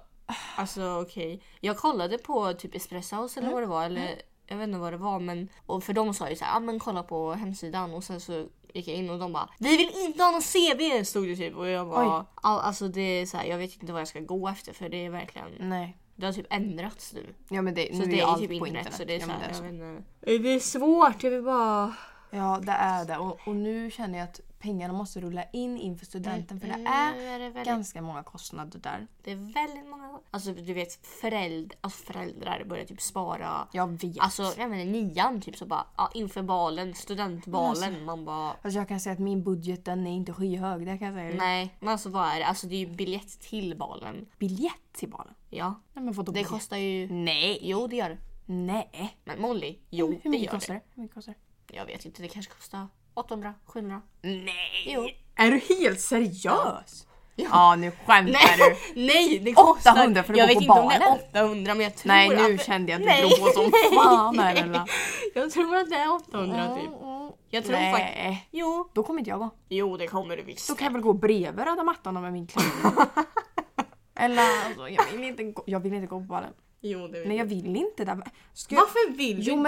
Speaker 2: alltså okej. Jag kollade på typ Espresso House
Speaker 1: Mm.
Speaker 2: eller vad det var eller jag vet inte vad det var men och för de sa ju så här, ah, men kolla på hemsidan och sen så gick jag in och de bara vi vill inte ha någon CV stod det typ och jag bara "Al- alltså det är så här, jag vet inte vad jag ska gå efter för det är verkligen
Speaker 1: Nej.
Speaker 2: det har typ ändrats nu.
Speaker 1: Ja men det,
Speaker 2: Så
Speaker 1: Mm. nu
Speaker 2: det
Speaker 1: är
Speaker 2: är ju
Speaker 1: allt
Speaker 2: typ
Speaker 1: på
Speaker 2: internet, så det är
Speaker 1: ja,
Speaker 2: så
Speaker 1: men
Speaker 2: här,
Speaker 1: det är
Speaker 2: jag
Speaker 1: så.
Speaker 2: vet inte. Det är svårt, jag vill bara...
Speaker 1: Ja det är det. Och, och nu känner jag att pengarna måste rulla in inför studenten för det
Speaker 2: Nu
Speaker 1: är
Speaker 2: är det väldigt
Speaker 1: ganska många kostnader där.
Speaker 2: Det är väldigt många... Alltså du vet föräld, alltså, föräldrar börjar typ spara.
Speaker 1: Jag vet.
Speaker 2: Alltså jag menar nian typ så bara ja, inför balen, studentvalen. Man bara
Speaker 1: Alltså jag kan säga att min budget den är inte skyhög, det kan jag säga.
Speaker 2: nej. Men alltså vad är det? Alltså det är ju biljett till balen.
Speaker 1: Biljett till balen?
Speaker 2: Ja.
Speaker 1: Nej men vadå
Speaker 2: Det
Speaker 1: biljett?
Speaker 2: kostar ju...
Speaker 1: Nej!
Speaker 2: Jo det gör det.
Speaker 1: Nej!
Speaker 2: Men Molly, jo
Speaker 1: Hur
Speaker 2: det
Speaker 1: mycket
Speaker 2: gör
Speaker 1: kostar det? Hur mycket kostar det?
Speaker 2: det. Jag vet inte, det kanske kostar 800, 700.
Speaker 1: Nej!
Speaker 2: Jo.
Speaker 1: Är du helt seriös? Ja, nu skämtar du.
Speaker 2: nej det kostar...
Speaker 1: 800 för att
Speaker 2: jag
Speaker 1: gå
Speaker 2: vet
Speaker 1: på
Speaker 2: inte om det är
Speaker 1: balen.
Speaker 2: 800 men jag tror
Speaker 1: Nej nu
Speaker 2: att...
Speaker 1: kände jag att
Speaker 2: Nej.
Speaker 1: du drog på som fan här Ella.
Speaker 2: Jag tror att det är 800 typ. Jag tror faktiskt...
Speaker 1: Nej,
Speaker 2: Jo.
Speaker 1: då kommer inte jag gå.
Speaker 2: Jo det kommer du visst.
Speaker 1: Då kan jag väl gå bredvid röda mattan med min klänning. Eller alltså, jag vill inte gå, jag vill inte gå på balen.
Speaker 2: Jo det
Speaker 1: Nej jag vill inte där. Ska jag...
Speaker 2: Varför vill du
Speaker 1: Jo
Speaker 2: inte?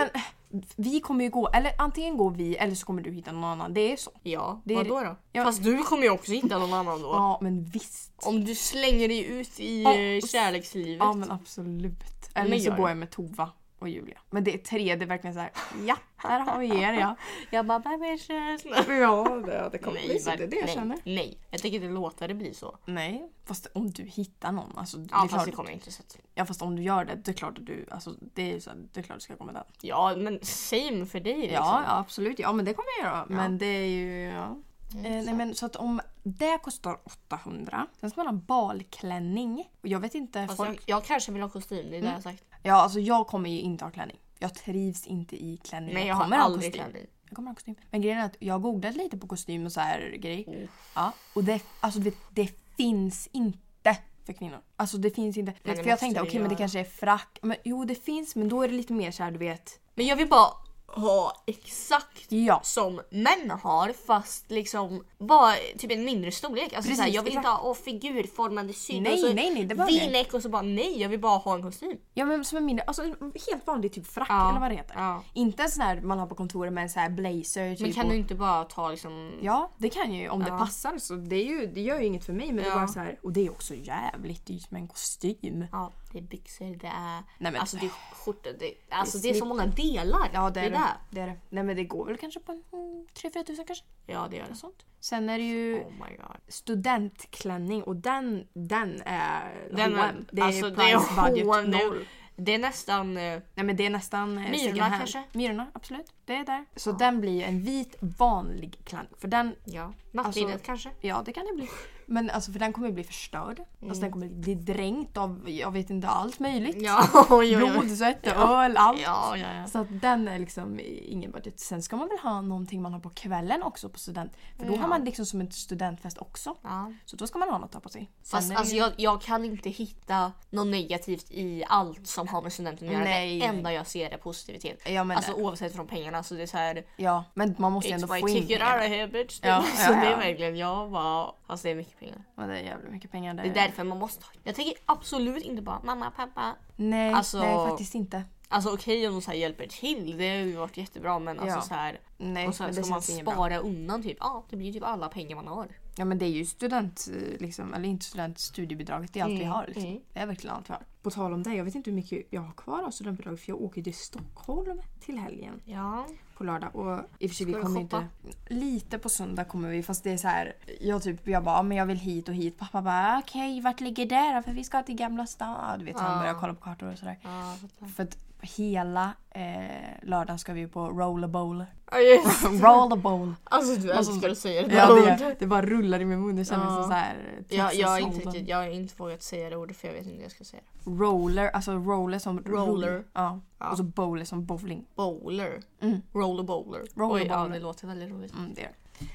Speaker 1: men vi kommer ju gå, eller antingen går vi eller så kommer du hitta någon annan. Det är så.
Speaker 2: Ja,
Speaker 1: Det är-
Speaker 2: vadå då?
Speaker 1: Ja.
Speaker 2: Fast du kommer ju också hitta någon annan då.
Speaker 1: Ja men visst.
Speaker 2: Om du slänger dig ut i
Speaker 1: Ja.
Speaker 2: eh, kärlekslivet.
Speaker 1: Ja men absolut. Eller
Speaker 2: Men
Speaker 1: så
Speaker 2: gör
Speaker 1: går
Speaker 2: det.
Speaker 1: jag med Tova och Julia. Men det är tre, det är verkligen så här. ja här har vi er ja.
Speaker 2: Jag bara bebisar.
Speaker 1: Ja det, det kommer bli så,
Speaker 2: ver-
Speaker 1: det är det jag
Speaker 2: nej,
Speaker 1: känner.
Speaker 2: nej, jag tänker inte låta det bli så.
Speaker 1: Nej, fast om du hittar någon. Alltså, det
Speaker 2: Ja
Speaker 1: är
Speaker 2: fast
Speaker 1: klart,
Speaker 2: det kommer jag inte så att...
Speaker 1: ja fast om du gör det, det är klart att du, alltså, det är ju så här, det är klart du ska gå med den.
Speaker 2: Ja men same för dig liksom.
Speaker 1: Ja, ja absolut. Ja men det kommer jag göra. Men det är ju... Ja. Eh, nej, men, så att om det kostar 800, sen ska man ha en balklänning. Och jag vet inte...
Speaker 2: Fast
Speaker 1: folk,
Speaker 2: jag, jag kanske vill ha kostym, det är det jag har sagt.
Speaker 1: Ja alltså jag kommer ju inte ha klänning. Jag trivs inte i klänning.
Speaker 2: Nej jag har
Speaker 1: kommer ha
Speaker 2: aldrig
Speaker 1: kostym.
Speaker 2: klänning.
Speaker 1: Jag kommer ha kostym. Men grejen är att jag har googlat lite på kostym och så här grej. Ja, och det, alltså, du vet, det finns inte för kvinnor. Alltså det finns inte.
Speaker 2: det
Speaker 1: för jag
Speaker 2: måste
Speaker 1: tänkte
Speaker 2: det
Speaker 1: okej men det
Speaker 2: göra.
Speaker 1: kanske är frack. Men, jo det finns men då är det lite mer så här du vet.
Speaker 2: Men jag vill bara ha exakt
Speaker 1: Ja.
Speaker 2: som män har fast liksom bara typ en mindre storlek. Alltså
Speaker 1: Precis,
Speaker 2: såhär, jag vill
Speaker 1: exakt.
Speaker 2: inte ha åh, figurformade sydor
Speaker 1: Nej,
Speaker 2: och så
Speaker 1: nej, nej, det var det.
Speaker 2: V-neck och så bara nej jag vill bara ha en kostym.
Speaker 1: Ja men som en mindre, alltså en helt vanlig typ frack
Speaker 2: Ja,
Speaker 1: eller vad det heter.
Speaker 2: ja.
Speaker 1: Inte en sån här man har på kontoret med en sån här blazer. Typ,
Speaker 2: Men kan
Speaker 1: och,
Speaker 2: du inte bara ta liksom
Speaker 1: Ja det kan jag ju om det
Speaker 2: Ja.
Speaker 1: passar så det, är ju, det gör ju inget för mig men det
Speaker 2: Ja.
Speaker 1: är bara så här. Och det är också jävligt dyrt med en kostym.
Speaker 2: Ja, det är byxor, det är...
Speaker 1: Nej, men-
Speaker 2: Alltså det är skjortor, det, alltså, det,
Speaker 1: Det
Speaker 2: är
Speaker 1: är
Speaker 2: så många delar.
Speaker 1: Ja det är det.
Speaker 2: där.
Speaker 1: det, är det. Nej men det går väl kanske på en, mm, 3-4 tusen kanske.
Speaker 2: Ja, det gör det.
Speaker 1: Sånt. Sen är det ju
Speaker 2: Oh my god.
Speaker 1: studentklänning och den, den är
Speaker 2: Den är,
Speaker 1: H&M. Det är
Speaker 2: alltså, det
Speaker 1: price
Speaker 2: är
Speaker 1: budget
Speaker 2: H&M.
Speaker 1: noll.
Speaker 2: Det är nästan... eh,
Speaker 1: Nej men det är nästan eh,
Speaker 2: Myrorna
Speaker 1: second hand.
Speaker 2: kanske?
Speaker 1: Myrorna, absolut. Det är där. Så den blir ju en vit vanlig klänning. För den,
Speaker 2: Ja, nattlinnet
Speaker 1: Alltså-
Speaker 2: kanske.
Speaker 1: ja det kan det bli. Men alltså för den kommer ju bli förstörd. Alltså
Speaker 2: Mm.
Speaker 1: den kommer bli dränkt av, jag vet inte, allt möjligt.
Speaker 2: Ja, oj, oj, oj.
Speaker 1: Blod, svett, öl, allt.
Speaker 2: Ja, ja, ja.
Speaker 1: Så att den är liksom ingen budget. Sen ska man väl ha någonting man har på kvällen också på student. För då har man liksom som en studentfest också.
Speaker 2: ja.
Speaker 1: Så då ska man ha något att ta på sig. Sen
Speaker 2: Fast
Speaker 1: är det
Speaker 2: alltså,
Speaker 1: ju-
Speaker 2: jag, jag kan inte hitta något negativt i allt som har med studenten att göra.
Speaker 1: Nej,
Speaker 2: det
Speaker 1: nej.
Speaker 2: enda jag ser är positivitet.
Speaker 1: Ja, men
Speaker 2: alltså
Speaker 1: det-
Speaker 2: oavsett från pengarna. Alltså, det är så här,
Speaker 1: ja, men man måste ju ändå
Speaker 2: It's my
Speaker 1: få in
Speaker 2: ticket out of
Speaker 1: pengar.
Speaker 2: here bitch.
Speaker 1: Ja,
Speaker 2: alltså,
Speaker 1: ja,
Speaker 2: Det är
Speaker 1: ja.
Speaker 2: verkligen jag bara... Alltså det är mycket pengar.
Speaker 1: Ja, det är jävligt mycket pengar.
Speaker 2: Det är därför man måste ha. Jag tänker absolut inte bara mamma, pappa.
Speaker 1: Nej,
Speaker 2: Alltså-
Speaker 1: nej faktiskt inte.
Speaker 2: Alltså okej om de så här hjälper till, det har ju varit jättebra men alltså
Speaker 1: Ja.
Speaker 2: så här.
Speaker 1: Nej,
Speaker 2: och så här
Speaker 1: men det
Speaker 2: ska man
Speaker 1: känns inget bra.
Speaker 2: spara undan typ, ja det blir typ alla pengar man har.
Speaker 1: Ja men det är ju student, eh, liksom, eller inte student, studiebidraget. Det är allt vi
Speaker 2: Mm,
Speaker 1: har. Liksom.
Speaker 2: mm.
Speaker 1: Det är verkligen allt vi har. På tal om det, jag vet inte hur mycket jag har kvar av studentbidraget för jag åker ju till Stockholm till helgen.
Speaker 2: Ja.
Speaker 1: på lördag. Och i och för sig vi
Speaker 2: Ska du
Speaker 1: kommer
Speaker 2: shoppa?
Speaker 1: inte... Lite på söndag kommer vi fast det är så här. Jag typ, jag bara, "Ja, men jag vill hit och hit. Pappa bara, okej vart ligger det då? För vi ska till Gamla stan. Du vet, han
Speaker 2: Ja.
Speaker 1: börjar kolla på kartor och sådär.
Speaker 2: Ja, jag fattar.
Speaker 1: För att hela eh, lördagen ska vi på rollerbowl.
Speaker 2: Ja, yes.
Speaker 1: rollerbowl.
Speaker 2: Alltså du
Speaker 1: Alltså,
Speaker 2: älskar att säga det
Speaker 1: Ja,
Speaker 2: där
Speaker 1: det,
Speaker 2: ordet.
Speaker 1: det bara rullar i min mun. Det känns
Speaker 2: Ja.
Speaker 1: som så här.
Speaker 2: Ja, jag, har inte
Speaker 1: Texas
Speaker 2: riktigt, jag har inte vågat säga det ordet för jag vet inte hur jag ska säga det.
Speaker 1: Hold'em. Roller, alltså roller som
Speaker 2: Roller.
Speaker 1: Ja.
Speaker 2: Ja.
Speaker 1: Och så bowler som bowling.
Speaker 2: Bowler.
Speaker 1: Mm.
Speaker 2: Roller bowler.
Speaker 1: Roller
Speaker 2: Oj, ja,
Speaker 1: bowler.
Speaker 2: det låter väldigt roligt.
Speaker 1: Mm, det är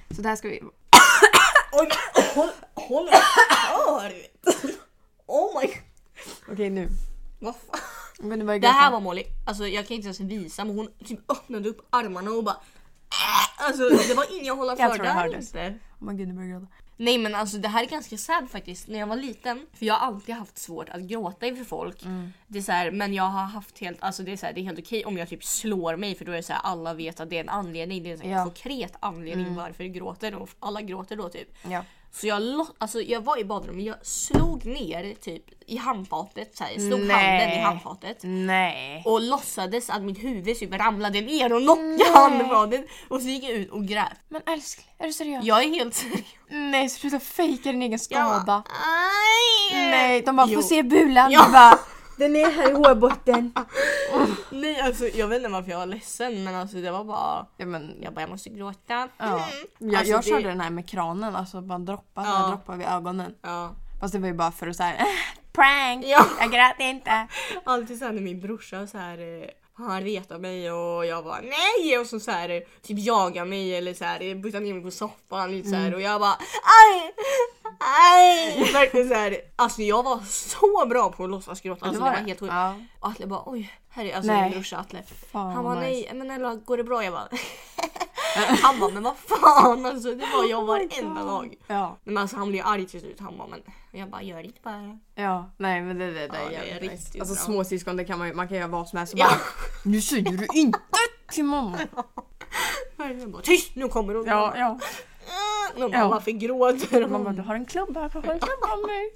Speaker 1: det. Så där ska vi
Speaker 2: Oj, håll, håll Oh my
Speaker 1: Okej nu.
Speaker 2: Vad fan?
Speaker 1: Men det, var ju
Speaker 2: Det här
Speaker 1: ganska-
Speaker 2: var Molly, alltså jag kan inte ens visa men hon typ öppnade upp armarna och bara "Äh!" Alltså det var inga att hålla för
Speaker 1: Jag tror det
Speaker 2: där
Speaker 1: hördes.
Speaker 2: inte.
Speaker 1: Oh my god, nu börjar jag gråta.
Speaker 2: Nej men alltså det här är ganska sad faktiskt. När jag var liten, för jag har alltid haft svårt att gråta inför folk.
Speaker 1: Mm.
Speaker 2: Det är så här, men jag har haft helt, alltså det är så här, det är helt okej om jag typ slår mig för då är det så här, alla vet att det är en anledning. Det är en så här
Speaker 1: Ja. Mm.
Speaker 2: konkret anledning varför du gråter och alla gråter då typ.
Speaker 1: Ja.
Speaker 2: Så jag, lo- alltså, jag var i badrummet, jag slog ner typ i handfatet, så här, slog
Speaker 1: Nej.
Speaker 2: handen i handfatet.
Speaker 1: Nej.
Speaker 2: och låtsades att mitt huvud typ ramlade ner och knockade handfatet och så gick jag ut och grät.
Speaker 1: Men älskling, är du seriös?
Speaker 2: Jag är helt seriös.
Speaker 1: Nej, sluta fejka din egen skada.
Speaker 2: Jag bara, "Aj!"
Speaker 1: Nej, de bara
Speaker 2: Jo.
Speaker 1: får se bulan.
Speaker 2: Ja.
Speaker 1: Du bara, den är här i hårbotten.
Speaker 2: Nej alltså jag vet inte varför jag var ledsen men alltså det var bara
Speaker 1: Ja, men, ja.
Speaker 2: jag bara jag måste gråta.
Speaker 1: Jag,
Speaker 2: Alltså,
Speaker 1: jag
Speaker 2: det-
Speaker 1: körde den här med kranen, alltså bara droppar,
Speaker 2: Ja.
Speaker 1: ja. droppar vid ögonen.
Speaker 2: Ja.
Speaker 1: Fast det var ju bara för att såhär, prank,
Speaker 2: Ja.
Speaker 1: jag grät inte.
Speaker 2: Alltid såhär när min brorsa så här, eh, han retar mig och jag bara nej och så, så här, eh, typ jagar mig eller så här, eh, buttar ner mig på soffan lite så
Speaker 1: Mm.
Speaker 2: här, och jag bara aj! Aj! Verkligen så här, alltså jag var så bra på att låtsas gråta. Alltså, det var helt sjukt.
Speaker 1: Ja.
Speaker 2: Och Atle bara oj, här är alltså
Speaker 1: Nej.
Speaker 2: min brorsa Atle.
Speaker 1: Fan,
Speaker 2: han bara
Speaker 1: vad
Speaker 2: nej men Ella går det bra? Jag bara Han bara men vad fan alltså det var
Speaker 1: Oh
Speaker 2: jag varenda dag.
Speaker 1: Ja,
Speaker 2: Men alltså han blev arg till slut han bara men jag bara gör det inte bara.
Speaker 1: ja, nej men det, det, det
Speaker 2: Ja,
Speaker 1: är
Speaker 2: det är
Speaker 1: jävligt nice.
Speaker 2: riktigt
Speaker 1: Alltså
Speaker 2: bra.
Speaker 1: småsyskon, det kan man ju, man kan göra vad som helst. och
Speaker 2: Ja.
Speaker 1: Bara, nu säger du inte till mamma.
Speaker 2: Jag bara tyst nu kommer hon.
Speaker 1: Ja, ja.
Speaker 2: Ah, Någon bara
Speaker 1: Ja.
Speaker 2: varför gråter hon?
Speaker 1: Man bara, du har en klubba, varför har du en klubba av mig?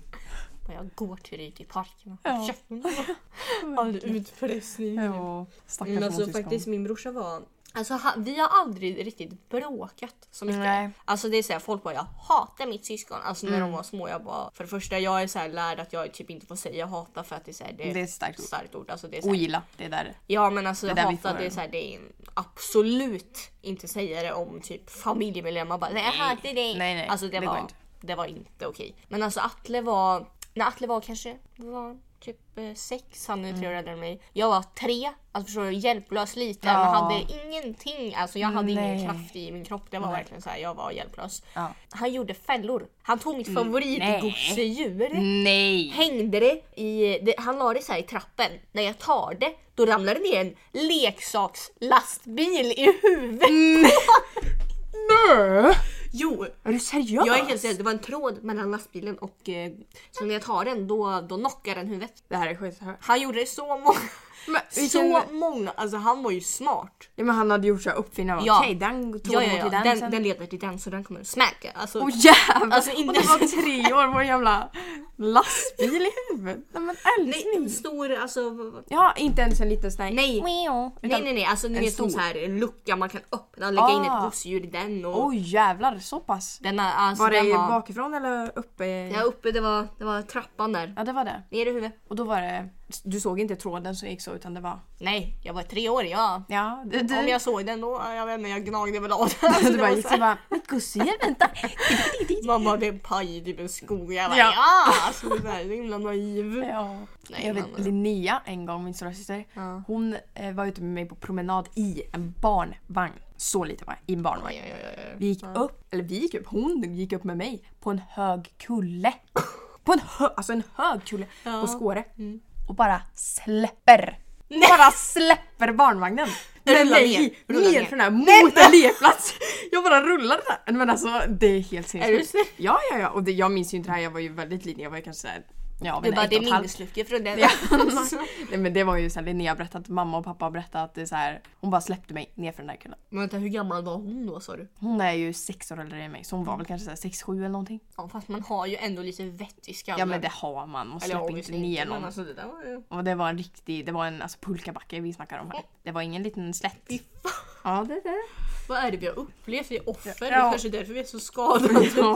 Speaker 2: bara, jag går till dig till parken.
Speaker 1: Ja.
Speaker 2: All utpressning.
Speaker 1: Ja, stackars
Speaker 2: Men alltså
Speaker 1: småsyskon.
Speaker 2: faktiskt min brorsa var Alltså ha- vi har aldrig riktigt bråkat så mycket.
Speaker 1: Nej. Mm.
Speaker 2: Alltså det är såhär folk bara jag hatar mitt syskon. Alltså när de var små jag bara för det första jag är såhär lärd att jag typ inte får säga hata för att det är såhär
Speaker 1: Det är ett starkt ord.
Speaker 2: starkt ord. Alltså det är så här-
Speaker 1: Ogilla, det är där.
Speaker 2: Ja men alltså
Speaker 1: där vi
Speaker 2: hata
Speaker 1: får-
Speaker 2: det är såhär det är en- absolut inte säga det om typ familjemedlemmar bara nej jag hatar dig.
Speaker 1: Nej, nej,
Speaker 2: Alltså det,
Speaker 1: det går
Speaker 2: var
Speaker 1: inte.
Speaker 2: det var inte okej. Men alltså Atle var, när Atle var kanske, vad var han? Typ eh, sex, han är tre
Speaker 1: Mm.
Speaker 2: år äldre än mig. Jag var tre, alltså förstår du, hjälplös liten.
Speaker 1: Ja.
Speaker 2: Hade ingenting, alltså jag hade
Speaker 1: Nej.
Speaker 2: ingen kraft i min kropp. Det var verkligen så här, jag var hjälplös.
Speaker 1: Ja.
Speaker 2: Han gjorde fällor. Han tog mitt
Speaker 1: nej.
Speaker 2: favoritgosedjur
Speaker 1: Nej!
Speaker 2: hängde det i, det, han la det så här i trappen. När jag tar det, då ramlar det ner en leksakslastbil i huvudet.
Speaker 1: Mm. Nej!
Speaker 2: Jo,
Speaker 1: Är du seriös?
Speaker 2: jag är helt seriös. Det var en tråd mellan lastbilen och eh, så när jag tar den då, då knockar den huvudet.
Speaker 1: Det här är skithört.
Speaker 2: Han gjorde det så många,
Speaker 1: Men,
Speaker 2: så många, alltså han var ju smart.
Speaker 1: ja, men han hade gjort såhär uppfinnare.
Speaker 2: Ja.
Speaker 1: Okej, den tog
Speaker 2: Ja, ja, ja.
Speaker 1: till den, sen.
Speaker 2: Den, den leder till den så den kommer smäcka. Alltså,
Speaker 1: Åh jävlar!
Speaker 2: Alltså,
Speaker 1: och
Speaker 2: inte-
Speaker 1: du var tre år på en jävla lastbil i huvudet. Nej men
Speaker 2: nej,
Speaker 1: älskling!
Speaker 2: en stor, alltså vad- vad-
Speaker 1: Ja, inte ens en liten sån här...
Speaker 2: Nej.
Speaker 1: Utan,
Speaker 2: Nej nej nej, alltså ni
Speaker 1: en
Speaker 2: vet som
Speaker 1: stor.
Speaker 2: så här en lucka man kan öppna, lägga in ett
Speaker 1: Ah.
Speaker 2: gosedjur i den och...
Speaker 1: Oj jävlar, så pass.
Speaker 2: Den, har- alltså,
Speaker 1: Var
Speaker 2: den
Speaker 1: det bakifrån eller uppe? i-
Speaker 2: Ja uppe, det var, det var trappan där.
Speaker 1: ja det var det.
Speaker 2: Ner i huvudet.
Speaker 1: Och då var det... Du såg inte tråden som gick så utan det var...
Speaker 2: Nej, jag var tre år. Ja.
Speaker 1: Ja, det,
Speaker 2: Om jag såg den då, jag vet inte, jag gnagde väl av den. Alltså,
Speaker 1: du
Speaker 2: det
Speaker 1: bara
Speaker 2: var
Speaker 1: gick
Speaker 2: så
Speaker 1: så
Speaker 2: här-
Speaker 1: bara... Mitt gosedjur väntar!
Speaker 2: Mamma det är en paj i typ en skog. Jag bara
Speaker 1: Ja.
Speaker 2: ja! Alltså det där är så himla naiv.
Speaker 1: Ja.
Speaker 2: Nej,
Speaker 1: jag vet
Speaker 2: men-
Speaker 1: Linnea en gång, min stora syster.
Speaker 2: Ja.
Speaker 1: Hon eh, var ute med mig på promenad i en barnvagn. Så liten var jag, i en barnvagn.
Speaker 2: Oj, oj, oj, oj.
Speaker 1: Vi gick upp, eller vi gick upp, hon gick upp med mig på en hög kulle. På en, hö, alltså en hög kulle på
Speaker 2: Ja. Mm.
Speaker 1: Skåre. Och bara släpper. Bara släpper barnvagnen. Men
Speaker 2: Rullar
Speaker 1: mig
Speaker 2: ner, rullar
Speaker 1: ner
Speaker 2: ner.
Speaker 1: för den här mot en lekplats. Jag bara rullar där. Men alltså det är helt
Speaker 2: Är du
Speaker 1: sinnessjukt.
Speaker 2: seriös?
Speaker 1: Ja, ja, ja. Och det, jag minns ju inte det här, jag var ju väldigt liten. Jag var ju kanske såhär Ja,
Speaker 2: Du
Speaker 1: men
Speaker 2: bara,
Speaker 1: ett
Speaker 2: det
Speaker 1: och ett
Speaker 2: är
Speaker 1: halvt.
Speaker 2: min slutgefrun.
Speaker 1: Ja. Nej men det var ju såhär Linnea har berättat, mamma och pappa har berättat att det är så här, hon bara släppte mig ner för den där kullen.
Speaker 2: Men vänta, hur gammal var hon då sa du?
Speaker 1: Hon är ju sex år äldre än mig så hon var väl kanske såhär sex sju eller någonting.
Speaker 2: Mm. Ja fast man har ju ändå lite vett i skallen.
Speaker 1: Ja men det har man, man
Speaker 2: Eller
Speaker 1: släpper inte
Speaker 2: obviously
Speaker 1: ner
Speaker 2: men
Speaker 1: någon.
Speaker 2: Alltså, det där var ju...
Speaker 1: Och det var en riktig, det var en alltså, pulkabacke vi snackar om här. Det var ingen liten slätt.
Speaker 2: Fy fan,
Speaker 1: Ja det är det.
Speaker 2: Vad är det vi har upplevt? Vi är offer. Det
Speaker 1: Ja.
Speaker 2: är kanske därför vi är så skadade.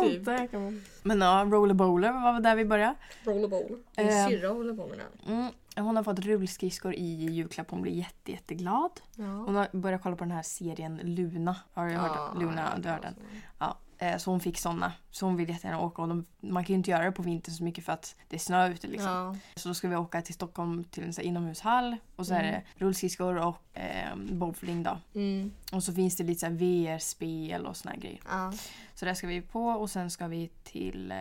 Speaker 2: typ.
Speaker 1: där kan man- Men ja, roller bowler var väl där vi började.
Speaker 2: Rollerball.
Speaker 1: Eh.
Speaker 2: Min syrra håller på med den.
Speaker 1: Mm. Hon har fått rullskridskor i julklapp, hon blir jätte, jätteglad.
Speaker 2: Ja.
Speaker 1: Hon har börjat kolla på den här serien Luna. Har du hört Luna, du har hört den? Ja, eh, så hon fick såna. Så hon vill jättegärna åka. Och de, man kan ju inte göra det på vintern så mycket för att det är snö ute. Liksom.
Speaker 2: Ja.
Speaker 1: Så då ska vi åka till Stockholm till en så här inomhushall. Och så är det rullskridskor och eh, bowling då.
Speaker 2: Mm.
Speaker 1: Och så finns det lite så här VR-spel och såna här grejer.
Speaker 2: ja.
Speaker 1: Så där ska vi på och sen ska vi till eh,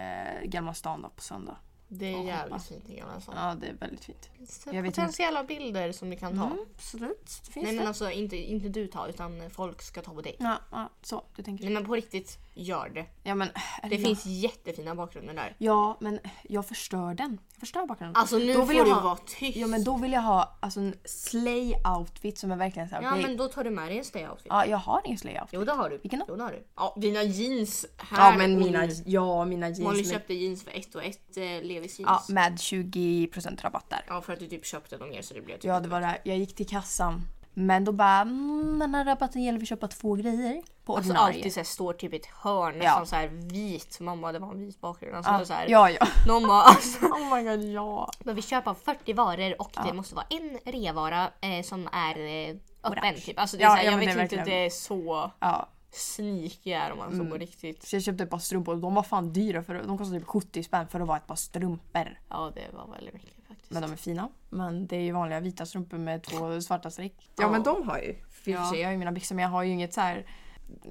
Speaker 1: Gamla stan då på söndag.
Speaker 2: Det är
Speaker 1: Och hoppa.
Speaker 2: jävligt fint i Gamla stan.
Speaker 1: Ja, det är väldigt fint.
Speaker 2: Så
Speaker 1: Jag vet inte.
Speaker 2: Potentiella bilder som ni kan ta.
Speaker 1: absolut. Det finns
Speaker 2: Nej men
Speaker 1: det. Mm.
Speaker 2: alltså inte, inte du tar utan folk ska ta på dig.
Speaker 1: Ja, ja, så du tänker.
Speaker 2: Nej men på riktigt, gör det.
Speaker 1: Ja, men,
Speaker 2: Det
Speaker 1: eller ja.
Speaker 2: finns jättefina bakgrunder där.
Speaker 1: Ja, men jag förstör den. Jag förstör bakgrunden.
Speaker 2: Alltså nu
Speaker 1: Då
Speaker 2: får
Speaker 1: vill
Speaker 2: du
Speaker 1: jag ha-
Speaker 2: vara tyst.
Speaker 1: Ja men då vill jag ha alltså, en slay-outfit som är verkligen såhär,
Speaker 2: Ja,
Speaker 1: okej.
Speaker 2: men då tar du med dig en stayoutfit.
Speaker 1: Ja, jag har ingen slay-outfit.
Speaker 2: Jo det har du.
Speaker 1: Vilken då?
Speaker 2: Jo det har du. Ja, dina jeans här.
Speaker 1: Ja men
Speaker 2: och
Speaker 1: mina,
Speaker 2: nu.
Speaker 1: ja, mina
Speaker 2: Molly
Speaker 1: jeans. Med,
Speaker 2: köpte jeans för ett och ett eh, Levis jeans.
Speaker 1: ja,
Speaker 2: Ja.
Speaker 1: med 20% rabatt där.
Speaker 2: för att du typ köpte dem mer så det blev typ
Speaker 1: Ja det var det här. jag gick till kassan. Men då bara, mm, den här rabatten gäller för att köpa två grejer på
Speaker 2: Alltså
Speaker 1: ordinarie.
Speaker 2: alltid så här, står typ i ett hörn
Speaker 1: Ja.
Speaker 2: som så här vit. Man bara det var en vit bakgrund. Alltså, så här,
Speaker 1: Ja ja.
Speaker 2: Någon bara alltså.
Speaker 1: Oh my god ja.
Speaker 2: Men vi köper 40 varor och det måste vara en revara eh, som är eh, öppen.
Speaker 1: Orange.
Speaker 2: Typ. Alltså, det är
Speaker 1: Ja,
Speaker 2: så här,
Speaker 1: ja,
Speaker 2: jag
Speaker 1: men det
Speaker 2: vet
Speaker 1: är
Speaker 2: inte att
Speaker 1: verkligen- Mm.
Speaker 2: det är så
Speaker 1: Ja.
Speaker 2: sneaky är om man så på riktigt.
Speaker 1: Så jag köpte ett par strumpor och de var fan dyra för de kostade typ 70 spänn för att vara ett par strumpor.
Speaker 2: Ja det var väldigt mycket faktiskt.
Speaker 1: Men de är fina. Men det är ju vanliga vita strumpor med två svarta streck.
Speaker 2: Ja, men
Speaker 1: de har ju.
Speaker 2: Ja.
Speaker 1: Jag har ju mina byxor men jag har ju inget så här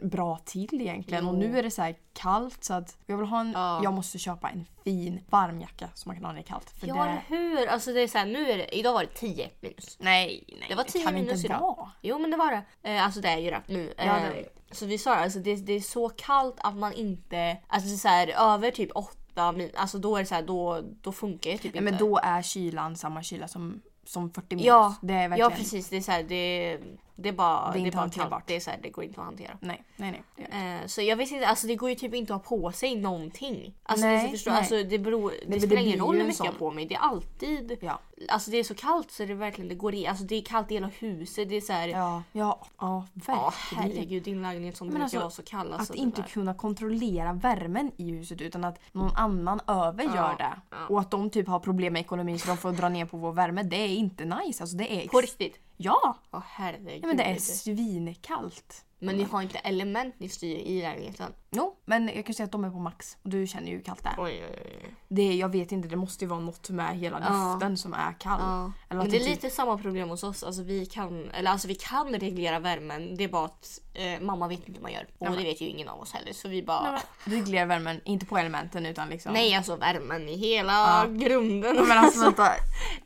Speaker 1: bra till egentligen. Och nu är det så här kallt så att jag vill ha en,
Speaker 2: Ja.
Speaker 1: jag måste köpa en fin varm jacka som man kan ha när det är kallt. För
Speaker 2: ja
Speaker 1: det,
Speaker 2: eller hur. Alltså det är så här, nu är det, idag var det 10 minus.
Speaker 1: nej, nej.
Speaker 2: Det var 10
Speaker 1: kan
Speaker 2: minus
Speaker 1: inte
Speaker 2: idag.
Speaker 1: vara.
Speaker 2: Jo men det var det. Eh, alltså det är ju det nu. Eh,
Speaker 1: Ja, det är det.
Speaker 2: Så vi sa det, alltså det, det är så kallt att man inte, alltså det är så här, över typ 8 minus, alltså då är det så här, då, då funkar det typ
Speaker 1: Nej,
Speaker 2: inte.
Speaker 1: men då är kylan samma kyla som, som 40 minus.
Speaker 2: Ja,
Speaker 1: det är
Speaker 2: ja
Speaker 1: verkligen.
Speaker 2: precis, det är så här, det, det är
Speaker 1: Det
Speaker 2: bara,
Speaker 1: är
Speaker 2: det är
Speaker 1: inte
Speaker 2: bara kallt.
Speaker 1: hanterbart.
Speaker 2: Det, är så här, det går inte att hantera.
Speaker 1: Nej, nej, nej. Det är det.
Speaker 2: Eh, Så jag vet inte, alltså det går ju typ inte att ha på sig någonting. Alltså, nej, det,
Speaker 1: Nej,
Speaker 2: så förstår,
Speaker 1: nej.
Speaker 2: alltså det, beror,
Speaker 1: men
Speaker 2: det
Speaker 1: det
Speaker 2: spelar
Speaker 1: blir
Speaker 2: ingen
Speaker 1: ju
Speaker 2: roll hur
Speaker 1: en
Speaker 2: mycket jag
Speaker 1: sån.
Speaker 2: har på mig. Det är alltid...
Speaker 1: Ja.
Speaker 2: Alltså det är så kallt så det verkligen det går i. Alltså det är kallt i hela huset. Det är så här... Ja,
Speaker 1: Ja, ja, ja verkligen.
Speaker 2: herregud din lägenhet som
Speaker 1: Men
Speaker 2: brukar
Speaker 1: alltså,
Speaker 2: vara så kall. Alltså,
Speaker 1: att
Speaker 2: det
Speaker 1: inte
Speaker 2: där.
Speaker 1: kunna kontrollera värmen i huset utan att någon annan över
Speaker 2: Ja,
Speaker 1: gör det.
Speaker 2: ja.
Speaker 1: Och att de typ har problem med ekonomin så de får dra ner på vår värme. Det är inte nice. Alltså det är...
Speaker 2: På riktigt?
Speaker 1: Ja!
Speaker 2: Ja herregud.
Speaker 1: Nej, men det är svinkallt.
Speaker 2: Men ni har inte element ni styr i lägenheten.
Speaker 1: Jo, men jag kan säga att de är på max. Och du känner ju hur kallt det är.
Speaker 2: Oj oj oj. oj.
Speaker 1: Det, är- jag vet inte, det måste ju vara något med hela
Speaker 2: Ja.
Speaker 1: luften som är kall.
Speaker 2: Ja.
Speaker 1: Eller
Speaker 2: Men
Speaker 1: att
Speaker 2: det
Speaker 1: det
Speaker 2: är
Speaker 1: typ-
Speaker 2: lite samma problem hos oss. Alltså vi kan, eller alltså vi kan reglera värmen. Det är bara att eh, mamma vet inte hur man gör. Och det vet ju ingen av oss heller. Så vi bara... Nej,
Speaker 1: Reglera värmen, inte på elementen utan liksom...
Speaker 2: alltså värmen i hela grunden.
Speaker 1: Men alltså vänta,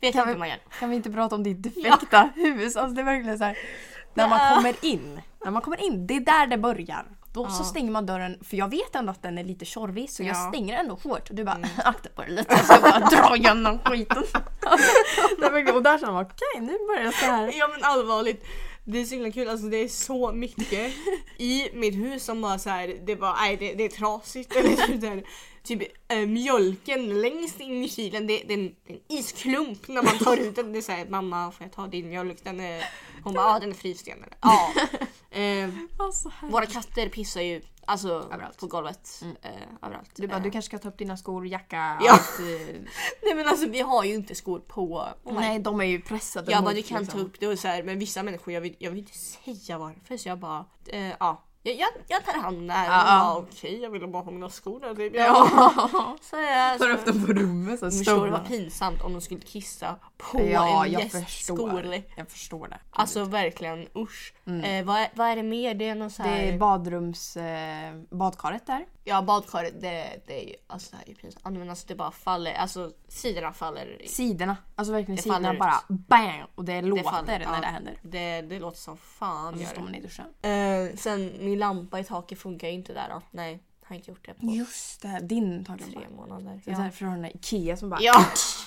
Speaker 2: vet
Speaker 1: kan
Speaker 2: inte
Speaker 1: vi-
Speaker 2: hur man gör.
Speaker 1: kan vi inte prata om ditt defekta hus? Alltså det är verkligen så här. När man
Speaker 2: Ja.
Speaker 1: kommer in, när man kommer in, det är där det börjar. Då så stänger man dörren, för jag vet ändå att den är lite tjorvig så
Speaker 2: Ja.
Speaker 1: jag stänger den ändå hårt. Och du bara akta på dig lite så jag bara drar igenom skiten. Alltså, det är verkligen- och där känner man okej nu börjar det så här.
Speaker 2: Ja men allvarligt. Det är så himla kul, alltså det är så mycket i mitt hus som bara så här, det är bara, nej det, det är trasigt. Eller typ, där, typ eh, mjölken längst in i kylen, det, det är en, en isklump när man tar ut den. Det är såhär, mamma får jag ta din mjölk? Den är... Hon bara, ja den är fryst igen eller? Ja. Eh,
Speaker 1: Alltså, här.
Speaker 2: våra katter pissar ju alltså
Speaker 1: Överallt.
Speaker 2: på golvet. Eh, överallt.
Speaker 1: Du bara
Speaker 2: Eh,
Speaker 1: du kanske ska ta upp dina skor, jacka,
Speaker 2: Ja.
Speaker 1: allt, eh,
Speaker 2: Nej men alltså vi har ju inte skor på.
Speaker 1: Nej Oh de är ju pressade.
Speaker 2: Jag
Speaker 1: mot,
Speaker 2: bara du kan
Speaker 1: liksom.
Speaker 2: ta upp det och så här, men vissa människor jag vill, jag vill inte säga varför så jag bara eh, ja. Jag, jag, jag tar hand om det här.
Speaker 1: Ja,
Speaker 2: Hon
Speaker 1: ja.
Speaker 2: bara, Okej, jag ville bara ha mina skor där typ.
Speaker 1: Ja.
Speaker 2: Så
Speaker 1: Tar
Speaker 2: jag, så,
Speaker 1: upp dem på rummet så
Speaker 2: förstår du
Speaker 1: stövlarna.
Speaker 2: vad pinsamt om de skulle kissa på
Speaker 1: Ja,
Speaker 2: en
Speaker 1: jag
Speaker 2: gästs skor.
Speaker 1: förstår. Jag förstår det.
Speaker 2: Alltså verkligen usch. Eh, vad, är, vad är det mer? Det är någon så här,
Speaker 1: Mm. Det är badrums... Eh, badkaret där.
Speaker 2: Ja badkaret det, det är ju alltså det här är ju pinsamt. Ja, Men alltså det bara faller, alltså sidorna faller.
Speaker 1: Sidorna. Alltså verkligen
Speaker 2: Det
Speaker 1: sidorna
Speaker 2: faller ut.
Speaker 1: bara bang! Och det låter
Speaker 2: faller,
Speaker 1: när
Speaker 2: ja.
Speaker 1: det händer. Alltså,
Speaker 2: Det, det låter som
Speaker 1: Och
Speaker 2: fan.
Speaker 1: så
Speaker 2: gör det.
Speaker 1: står man i duschen.
Speaker 2: Eh, sen min lampa i taket funkar ju inte där då. Nej. Har inte gjort det på
Speaker 1: Just det, din tar glömt
Speaker 2: tre
Speaker 1: bort.
Speaker 2: månader.
Speaker 1: Det är
Speaker 2: Ja.
Speaker 1: därför du har den där Ikea som bara
Speaker 2: Ja.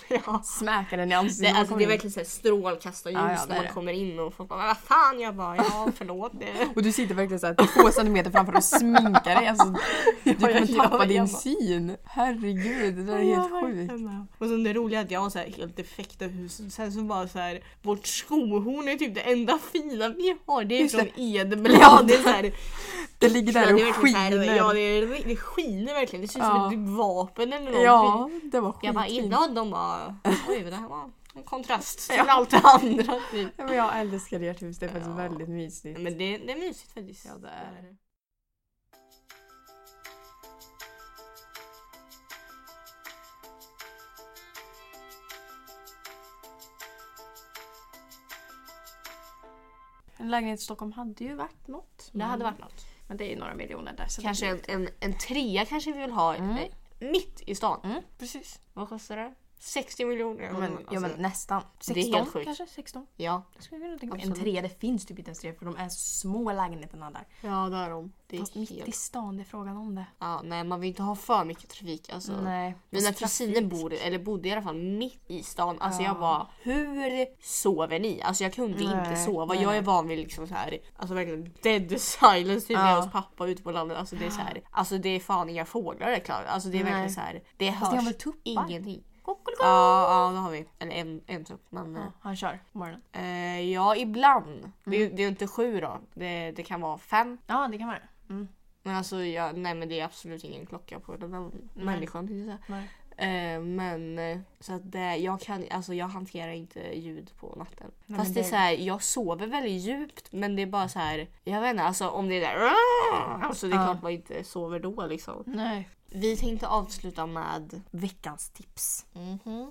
Speaker 2: ja. alltså,
Speaker 1: smäcker den i ansiktet.
Speaker 2: Det,
Speaker 1: när man
Speaker 2: alltså,
Speaker 1: kommer
Speaker 2: det är
Speaker 1: in.
Speaker 2: verkligen såhär strålkastarljus
Speaker 1: Ja, ja, det
Speaker 2: när
Speaker 1: är
Speaker 2: man
Speaker 1: det.
Speaker 2: kommer in och folk bara "Men vad fan jag bara ja förlåt. Det.
Speaker 1: Och du sitter verkligen såhär två centimeter framför och sminkar dig. Alltså, du
Speaker 2: Ja,
Speaker 1: kommer
Speaker 2: ja,
Speaker 1: tappa
Speaker 2: ja,
Speaker 1: din
Speaker 2: ja.
Speaker 1: syn. Herregud, det där är
Speaker 2: Ja,
Speaker 1: helt sjukt.
Speaker 2: verkligen, ja. Och sen det roliga är att jag har så här helt defekta hus. Sen så bara så här, vårt skohorn är typ det enda fina vi har. Det är
Speaker 1: Just
Speaker 2: från
Speaker 1: det.
Speaker 2: Edenblad. Det är så här,
Speaker 1: Det ligger där
Speaker 2: det är
Speaker 1: och
Speaker 2: verkligen så här,
Speaker 1: skiner.
Speaker 2: Ja, det, är, det skiner verkligen. Det ser ut
Speaker 1: Ja.
Speaker 2: som ett vapen eller någonting.
Speaker 1: Ja, det var
Speaker 2: Jag bara
Speaker 1: skitfint.
Speaker 2: Edenblad, de bara oj det här var en kontrast till allt det andra. typ.
Speaker 1: Ja, men jag älskar ert hus, det är faktiskt
Speaker 2: Ja.
Speaker 1: väldigt mysigt.
Speaker 2: Men det, det är mysigt faktiskt.
Speaker 1: Ja, det är det. En lägenhet i Stockholm hade ju varit något.
Speaker 2: Det hade varit något.
Speaker 1: Men det är ju några miljoner där. Så
Speaker 2: Kanske
Speaker 1: det...
Speaker 2: en, en, en trea kanske vi vill ha
Speaker 1: Mm.
Speaker 2: eh, mitt i stan.
Speaker 1: Mm, precis.
Speaker 2: Vad kostar det? 60 miljoner.
Speaker 1: Ja, men, ja, men
Speaker 2: alltså,
Speaker 1: nästan. 16
Speaker 2: det är helt sjukt.
Speaker 1: kanske? 16?
Speaker 2: ja.
Speaker 1: Det skulle jag kunna tänka mig. En
Speaker 2: Absolut.
Speaker 1: trea, det finns typ inte ens trea för de är så små lägenheterna där.
Speaker 2: ja, det är de. Det
Speaker 1: Fast
Speaker 2: är
Speaker 1: mitt i
Speaker 2: helt...
Speaker 1: stan, det är frågan om det.
Speaker 2: ja, nej, man vill inte ha för mycket trafik. Alltså.
Speaker 1: Nej.
Speaker 2: Mina
Speaker 1: Fast
Speaker 2: kusiner
Speaker 1: trafik-
Speaker 2: bor, eller bodde i alla fall mitt i stan. Alltså
Speaker 1: Ja.
Speaker 2: jag bara, hur sover ni? Alltså jag kunde inte
Speaker 1: Nej,
Speaker 2: sova.
Speaker 1: nej,
Speaker 2: Jag är
Speaker 1: nej.
Speaker 2: van vid liksom så här, alltså verkligen dead silence typ när jag
Speaker 1: Ja.
Speaker 2: är hos pappa ute på landet. Alltså det är så här, alltså det är fan inga fåglar det är klart. Alltså det är
Speaker 1: Nej.
Speaker 2: verkligen så här, det
Speaker 1: Fast ni har
Speaker 2: hörs
Speaker 1: väl tuppar?
Speaker 2: ingenting.
Speaker 1: Kockelikom!
Speaker 2: Ja, ja det har vi. Eller en, en tupp. Men,
Speaker 1: Ja, han kör på morgonen.
Speaker 2: eh, ja, ibland. Det, är-
Speaker 1: Mm.
Speaker 2: det är inte sju då. Det, det kan vara fem.
Speaker 1: Ja, det kan vara det. Mm.
Speaker 2: Men alltså, jag, nej men det är absolut ingen klocka på den här människan. tänkte jag säga.
Speaker 1: Nej.
Speaker 2: Eh, men eh, så att det, jag kan, alltså jag hanterar inte ljud på natten.
Speaker 1: men
Speaker 2: Fast det är
Speaker 1: det-
Speaker 2: så här, jag sover väldigt djupt men det är bara så här, jag vet inte, alltså om det är där, alltså det är
Speaker 1: Ja.
Speaker 2: klart man inte sover då liksom.
Speaker 1: Nej.
Speaker 2: Vi tänkte avsluta med
Speaker 1: Veckans tips.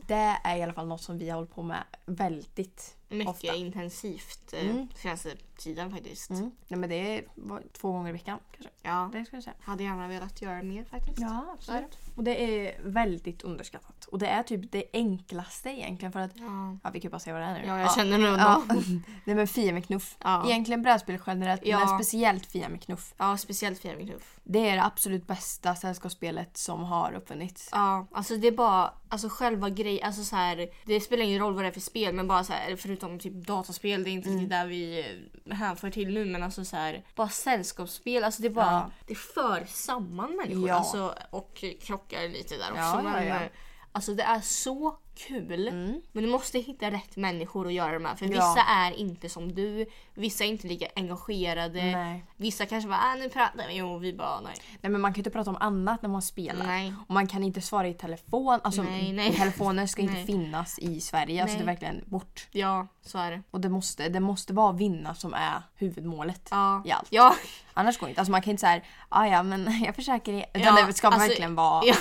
Speaker 1: Det är i alla fall något som vi har hållit på med väldigt
Speaker 2: mycket
Speaker 1: ofta.
Speaker 2: intensivt eh,
Speaker 1: Mm.
Speaker 2: senaste tiden faktiskt.
Speaker 1: Mm. Nej, men det är vad, två gånger i veckan kanske.
Speaker 2: Ja,
Speaker 1: Det skulle jag säga.
Speaker 2: hade gärna velat göra mer faktiskt.
Speaker 1: Ja,
Speaker 2: absolut.
Speaker 1: Och det är väldigt underskattat. Och det är typ det enklaste egentligen för att...
Speaker 2: Ja,
Speaker 1: Ja, vi kan ju bara säga vad det är nu.
Speaker 2: ja jag känner nu
Speaker 1: Ja.
Speaker 2: ändå. Ja.
Speaker 1: Nej men Fia med knuff.
Speaker 2: Ja.
Speaker 1: Egentligen brädspel generellt
Speaker 2: Ja.
Speaker 1: men speciellt Fia med knuff.
Speaker 2: speciellt fjärilknuff.
Speaker 1: Det är det absolut bästa sällskapsspelet som har uppfunnits.
Speaker 2: Ja, alltså det är bara alltså själva grejen. Alltså så här, det spelar ingen roll vad det är för spel men bara så här, förutom typ dataspel, det är inte
Speaker 1: Mm.
Speaker 2: det där vi eh, hänför till nu men alltså så här, bara sällskapsspel. Alltså det är bara,
Speaker 1: Ja.
Speaker 2: det för samman människor
Speaker 1: Ja.
Speaker 2: alltså, och krockar lite där också.
Speaker 1: Ja, ja,
Speaker 2: men,
Speaker 1: ja. Mm.
Speaker 2: eh, Alltså det är så kul men du måste hitta rätt människor att göra det med för
Speaker 1: Ja.
Speaker 2: vissa är inte som du, vissa är inte lika engagerade,
Speaker 1: Nej.
Speaker 2: vissa kanske bara äh, nu pratar vi och vi bara nej.
Speaker 1: Nej men man kan ju inte prata om annat när man spelar.
Speaker 2: Nej.
Speaker 1: Och man kan inte svara i telefon. Alltså
Speaker 2: Nej, nej.
Speaker 1: telefoner ska inte
Speaker 2: Nej.
Speaker 1: finnas i Sverige. Alltså
Speaker 2: Nej.
Speaker 1: det är verkligen bort.
Speaker 2: Ja, så är det.
Speaker 1: Och det måste, det måste vara vinna som är huvudmålet.
Speaker 2: Ja.
Speaker 1: I allt.
Speaker 2: Ja,
Speaker 1: Annars går det inte. Alltså man kan inte säga ah, ja men jag försöker. i-" Utan
Speaker 2: Ja,
Speaker 1: det ska
Speaker 2: alltså-
Speaker 1: verkligen vara,
Speaker 2: ja.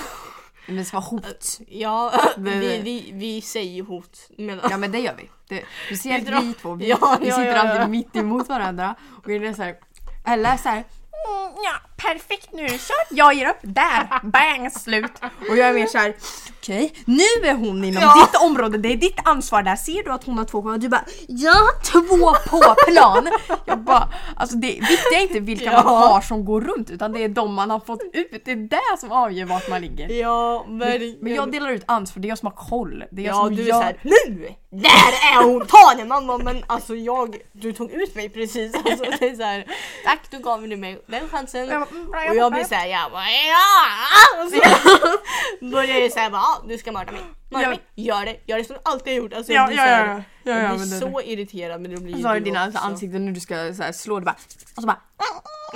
Speaker 1: men det ska vara hot.
Speaker 2: Ja,
Speaker 1: Det-
Speaker 2: vi, vi, vi säger ju hot. Men,
Speaker 1: Ja men det gör vi. Det, du ser
Speaker 2: Vi
Speaker 1: vi,
Speaker 2: drar-
Speaker 1: vi två, vi,
Speaker 2: Ja,
Speaker 1: vi
Speaker 2: ja,
Speaker 1: sitter
Speaker 2: ja, ja.
Speaker 1: alltid mitt emot varandra. Och det är så här, eller så här, mm, ja perfekt nu är det kört, jag ger upp, där, bang slut. Och jag är mer så här, okej nu är hon inom
Speaker 2: Ja.
Speaker 1: ditt område, det är ditt ansvar där, ser du att hon har två kvar? Du bara, jag har två på plan. Jag bara, alltså det viktiga är inte vilka
Speaker 2: Ja.
Speaker 1: man har som går runt utan det är de man har fått ut, det är det som avgör vart man ligger.
Speaker 2: ja, men,
Speaker 1: Men jag delar ut ansvar, det är jag som har koll. Det är jag
Speaker 2: ja,
Speaker 1: som
Speaker 2: du är
Speaker 1: gör
Speaker 2: såhär NU! Där är hon! Ta den mamma! Men alltså jag, du tog ut mig precis. Alltså, det är så här, tack, du gav du mig den chansen. Och jag blir såhär, jag bara ja! Och så börjar jag såhär bara, ja, du ska mörda mig. Mörda
Speaker 1: Ja.
Speaker 2: mig. Gör det, gör det som du alltid har gjort. Alltså, jag
Speaker 1: Ja,
Speaker 2: blir
Speaker 1: ja,
Speaker 2: så här-
Speaker 1: ja, ja, ja,
Speaker 2: jag
Speaker 1: men det-
Speaker 2: blir så irriterad men det blir ju
Speaker 1: Så har du
Speaker 2: du
Speaker 1: dina
Speaker 2: också.
Speaker 1: ansikten när du ska så här, slå det bara. Och så bara.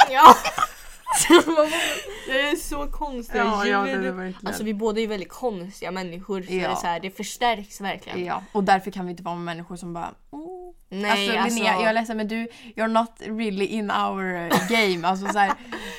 Speaker 2: Ja. det är så konstiga
Speaker 1: Ja, ja,
Speaker 2: ljud.
Speaker 1: det är det verkligen.
Speaker 2: Alltså vi båda är väldigt konstiga människor så,
Speaker 1: Ja.
Speaker 2: det, är så här, det förstärks verkligen.
Speaker 1: Ja. Och därför kan vi inte vara med människor som bara. "Mm."
Speaker 2: Nej,
Speaker 1: alltså,
Speaker 2: alltså-
Speaker 1: Linnea, jag är ledsen men du, you're not really in our eh, game. Alltså, så här,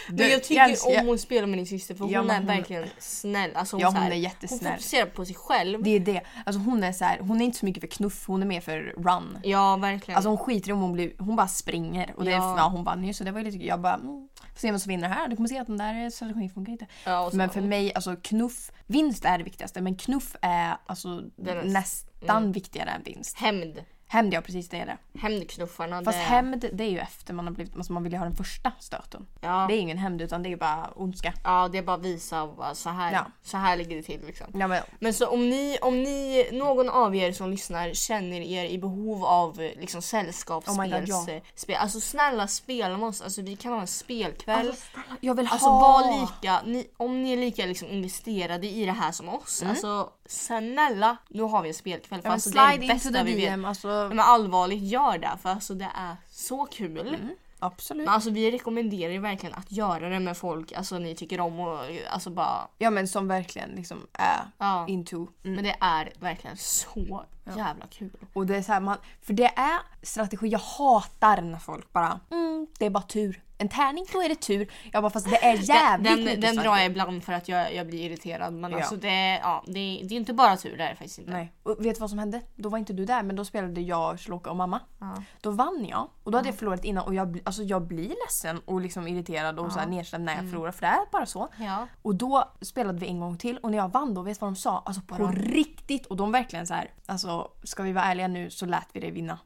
Speaker 1: du,
Speaker 2: Men jag tycker
Speaker 1: älskar-
Speaker 2: om att spela med din syster för
Speaker 1: Ja,
Speaker 2: hon
Speaker 1: men
Speaker 2: är
Speaker 1: hon-
Speaker 2: verkligen snäll. Alltså, hon,
Speaker 1: Ja,
Speaker 2: så här,
Speaker 1: hon är jättesnäll.
Speaker 2: Hon fokuserar på sig själv.
Speaker 1: Det är det. Alltså, hon, är så här, hon är inte så mycket för knuff, hon är mer för run.
Speaker 2: Ja verkligen.
Speaker 1: Alltså hon skiter i om hon blir, hon bara springer. Och det,
Speaker 2: Ja.
Speaker 1: ja. Ja, hon bara nyss, så det var ju lite Jag bara, mm, får se vem som vinner här. Du kommer se att den där strategin funkar inte.
Speaker 2: ja, och så- "Mm."
Speaker 1: Men för mig, alltså knuff, vinst är det viktigaste men knuff är alltså
Speaker 2: Den är- Mm.
Speaker 1: nästan viktigare än vinst.
Speaker 2: Hämnd.
Speaker 1: Hämnd ja, precis det är det.
Speaker 2: Hämndknuffarna.
Speaker 1: Fast
Speaker 2: det-
Speaker 1: hämnd det är ju efter man har blivit, alltså man vill ju ha den första stöten.
Speaker 2: Ja.
Speaker 1: Det är ingen hämnd utan det är ju bara ondska.
Speaker 2: Ja, det är bara visa bara, så, här,
Speaker 1: Ja.
Speaker 2: så här ligger det till. Liksom.
Speaker 1: Ja, men,
Speaker 2: Men så om ni, om ni, någon av er som lyssnar känner er i behov av eh,
Speaker 1: Oh
Speaker 2: liksom
Speaker 1: my God,
Speaker 2: sällskapsspel,
Speaker 1: ja.
Speaker 2: spel, alltså snälla spela med oss, alltså vi kan ha en spelkväll. Alltså,
Speaker 1: jag vill
Speaker 2: var lika, ni, om ni är lika liksom investerade i det här som oss,
Speaker 1: Mm.
Speaker 2: alltså snälla nu har vi en spelkväll. För
Speaker 1: Ja, men
Speaker 2: alltså, det är det
Speaker 1: slide into
Speaker 2: bästa
Speaker 1: the
Speaker 2: vi vet.
Speaker 1: DM. Alltså,
Speaker 2: Men allvarligt gör det för alltså det är så kul.
Speaker 1: Mm. absolut.
Speaker 2: Men alltså vi rekommenderar ju verkligen att göra det med folk alltså ni tycker om och alltså bara
Speaker 1: Ja men som verkligen liksom är
Speaker 2: ja.
Speaker 1: into. Mm.
Speaker 2: Men det är verkligen så jävla kul.
Speaker 1: Och det är så här, man, för det är strategi, jag hatar när folk bara mm, det är bara tur. En tärning då är det tur. Jag bara fast det är jävligt
Speaker 2: den den,
Speaker 1: mycket
Speaker 2: den
Speaker 1: strategi.
Speaker 2: drar jag ibland för att jag, jag blir irriterad men
Speaker 1: Ja.
Speaker 2: alltså det, ja, det, är- det är inte bara tur det är det faktiskt inte.
Speaker 1: Nej. Och vet du vad som hände? Då var inte du där men då spelade jag, Shloka och mamma.
Speaker 2: Ja.
Speaker 1: Då vann jag och då hade jag förlorat innan och jag, bli- alltså jag blir ledsen och liksom irriterad och så här nedstämd när jag förlorar för det är bara så.
Speaker 2: Mm. Ja.
Speaker 1: Och då spelade vi en gång till och när jag vann då, vet du vad de sa? Alltså på riktigt! Och de verkligen så här, alltså ska vi vara ärliga nu så lät vi dig vinna.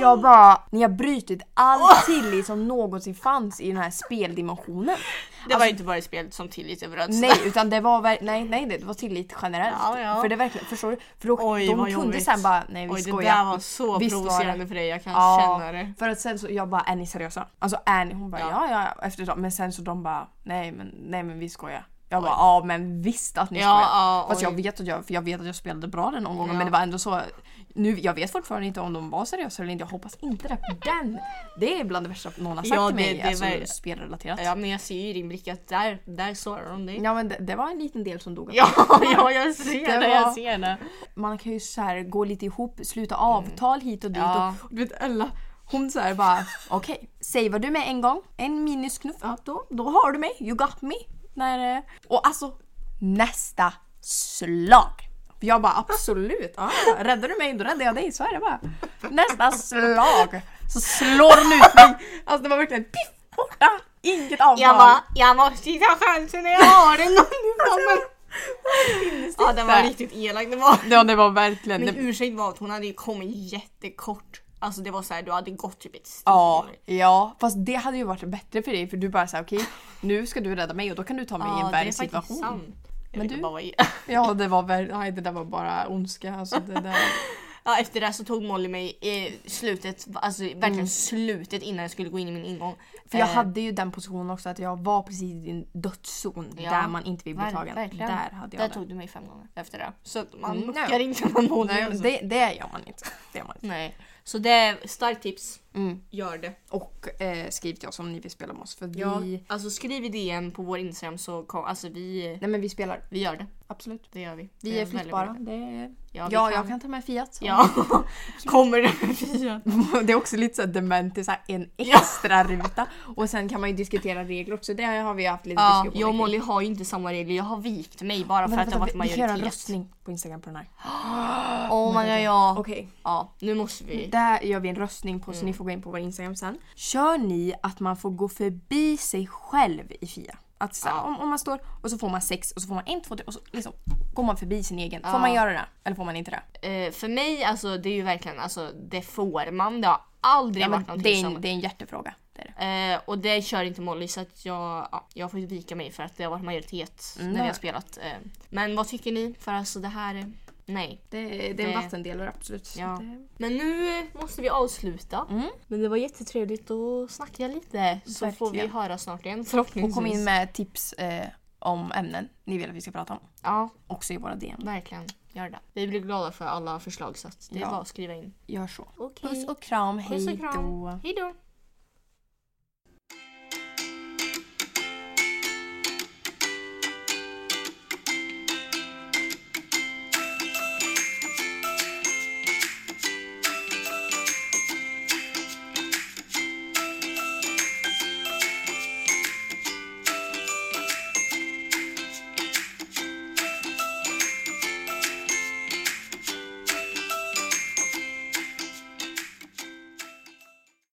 Speaker 1: Jag bara, ni har brutit all tillit som någonsin fanns i den här speldimensionen.
Speaker 2: Det var ju inte bara i spelet som tillit överallt.
Speaker 1: Nej, utan det var ver- nej, nej, det var tillit generellt.
Speaker 2: Ja, ja.
Speaker 1: För det verkligen, förstår du? För då,
Speaker 2: Oj,
Speaker 1: de
Speaker 2: vad
Speaker 1: kunde
Speaker 2: jobbigt.
Speaker 1: sen bara, nej vi
Speaker 2: Oj det
Speaker 1: skojar.
Speaker 2: där var så
Speaker 1: Visst var det.
Speaker 2: provocerande för dig, jag kan känna det.
Speaker 1: för att sen så jag bara är ni seriösa? Alltså är ni? Hon bara
Speaker 2: Ja.
Speaker 1: ja ja, ja. efter ett tag. Men sen så de bara nej men, nej, men vi skojar. Jag bara ja men visst att ni
Speaker 2: Ja,
Speaker 1: skojar.
Speaker 2: ja,
Speaker 1: Fast
Speaker 2: oj.
Speaker 1: jag vet, att jag, för jag vet att jag spelade bra den omgången
Speaker 2: Ja.
Speaker 1: men det var ändå så. Nu, jag vet fortfarande inte om de var seriösa eller inte. Jag hoppas inte det. för Den, det är bland det värsta någon har sagt
Speaker 2: Ja,
Speaker 1: till
Speaker 2: det-
Speaker 1: mig.
Speaker 2: det är
Speaker 1: alltså
Speaker 2: väl-
Speaker 1: spelrelaterat. Ja.
Speaker 2: Ja men jag ser ju i din blick att där, där sårar de dig.
Speaker 1: men det, det var en liten del som dog.
Speaker 2: Ja, ja jag ser det,
Speaker 1: Det var-
Speaker 2: jag ser det.
Speaker 1: Man kan ju så här gå lite ihop, sluta avtal hit och dit.
Speaker 2: Mm. Ja.
Speaker 1: Och, och du vet Ella, hon så här bara okej, säg vad du med en gång, en minusknuff, ja, då, då har du mig, you got me. När, eh, och alltså nästa slag. Jag bara absolut, ja, räddar du mig då räddar jag dig, så är det bara. Nästa slag så slår hon ut mig. Alltså det var verkligen piff borta, inget avtal.
Speaker 2: Jag bara, jag måste ju ta chansen när jag har den någon gång. Ja den var riktigt elak det var.
Speaker 1: Ja det var verkligen,
Speaker 2: Min
Speaker 1: det,
Speaker 2: ursäkt var att hon hade ju kommit jättekort. Alltså det var så här, du hade gått typ ett steg.
Speaker 1: Ja, ja, fast det hade ju varit bättre för dig för du bara såhär okej nu ska du rädda mig och då kan du ta mig i en
Speaker 2: Ja, det
Speaker 1: värre
Speaker 2: är faktiskt
Speaker 1: situation.
Speaker 2: sant.
Speaker 1: Men
Speaker 2: Men
Speaker 1: du-
Speaker 2: du... Bara, vara-
Speaker 1: Ja det var väl, nej det där var bara ondska alltså det där.
Speaker 2: ja, efter det så tog Molly mig i slutet, alltså verkligen
Speaker 1: Mm.
Speaker 2: slutet innan jag skulle gå in i min ingång.
Speaker 1: För jag
Speaker 2: Eh,
Speaker 1: hade ju den positionen också att jag var precis i din dödszon
Speaker 2: Ja,
Speaker 1: där man inte vill bli
Speaker 2: ver-
Speaker 1: tagen.
Speaker 2: verkligen.
Speaker 1: Där hade
Speaker 2: Där
Speaker 1: jag det.
Speaker 2: tog du mig fem gånger efter det. Så att man
Speaker 1: Mm,
Speaker 2: muckar
Speaker 1: ja.
Speaker 2: inte man mot
Speaker 1: Nej,
Speaker 2: alltså.
Speaker 1: det, det gör man inte. Det gör man inte.
Speaker 2: Nej. Så det är starkt tips.
Speaker 1: Mm.
Speaker 2: Gör det.
Speaker 1: Och eh, skriv till oss om ni vill spela med oss för vi,
Speaker 2: Vi, alltså skriv i DM på vår Instagram så kom, alltså vi,
Speaker 1: nej men vi spelar.
Speaker 2: vi gör det.
Speaker 1: Absolut.
Speaker 2: Det gör vi.
Speaker 1: Vi
Speaker 2: Det
Speaker 1: är
Speaker 2: väldigt
Speaker 1: flyttbara.
Speaker 2: bra.
Speaker 1: Det är...
Speaker 2: Ja,
Speaker 1: Ja,
Speaker 2: vi
Speaker 1: jag kan ta med Fiat.
Speaker 2: Ja, kommer det med Fiat?
Speaker 1: Det är också lite så här dement, det är så här en extra ruta. Och sen kan man ju diskutera regler också, det har vi haft lite
Speaker 2: Ja,
Speaker 1: diskussioner
Speaker 2: jag och
Speaker 1: kring.
Speaker 2: Molly har ju inte samma regler. Jag har vikt mig bara för
Speaker 1: Vänta,
Speaker 2: att det har varit
Speaker 1: vänta, vi, vi kan göra en
Speaker 2: majoritet.
Speaker 1: röstning på Instagram på den här.
Speaker 2: Oh my god, ja.
Speaker 1: Okej,
Speaker 2: Ja, nu måste vi.
Speaker 1: där gör vi en röstning på så ni får gå in på vår Instagram sen. Kör ni att man får gå förbi sig själv i Fia? Att så,
Speaker 2: Ja.
Speaker 1: om, om man står och så får man sex och så får man en, två, tre och så liksom går man förbi sin egen. Får
Speaker 2: Ja.
Speaker 1: man göra det? Eller får man inte det?
Speaker 2: Eh, för mig, alltså det är ju verkligen, alltså det får man. Det har aldrig
Speaker 1: Ja,
Speaker 2: varit
Speaker 1: men det,
Speaker 2: någonting
Speaker 1: är en,
Speaker 2: som...
Speaker 1: det är en hjärtefråga. Det är det.
Speaker 2: Eh, och det kör inte Molly så att jag, ja, jag får ju vika mig för att det har varit majoritet när vi har
Speaker 1: Nej.
Speaker 2: spelat. Eh. Men vad tycker ni? För alltså det här, eh, nej.
Speaker 1: Det, är
Speaker 2: Det-
Speaker 1: en vattendelare absolut.
Speaker 2: Ja.
Speaker 1: Det-
Speaker 2: Men nu eh, måste vi avsluta.
Speaker 1: Mm.
Speaker 2: Men det var jättetrevligt att snacka lite. Så får vi
Speaker 1: Verkligen.
Speaker 2: höra snart igen
Speaker 1: Och
Speaker 2: förhoppningsvis.
Speaker 1: kom in med tips eh, om ämnen ni vill att vi ska prata om.
Speaker 2: Ja,
Speaker 1: Också i våra DM.
Speaker 2: verkligen. Gör det. Vi blir glada för alla förslag så att det är
Speaker 1: Ja.
Speaker 2: bara att skriva in.
Speaker 1: Gör så.
Speaker 2: Okej.
Speaker 1: Puss och kram,
Speaker 2: Puss
Speaker 1: hej
Speaker 2: och kram.
Speaker 1: då.
Speaker 2: Hej då.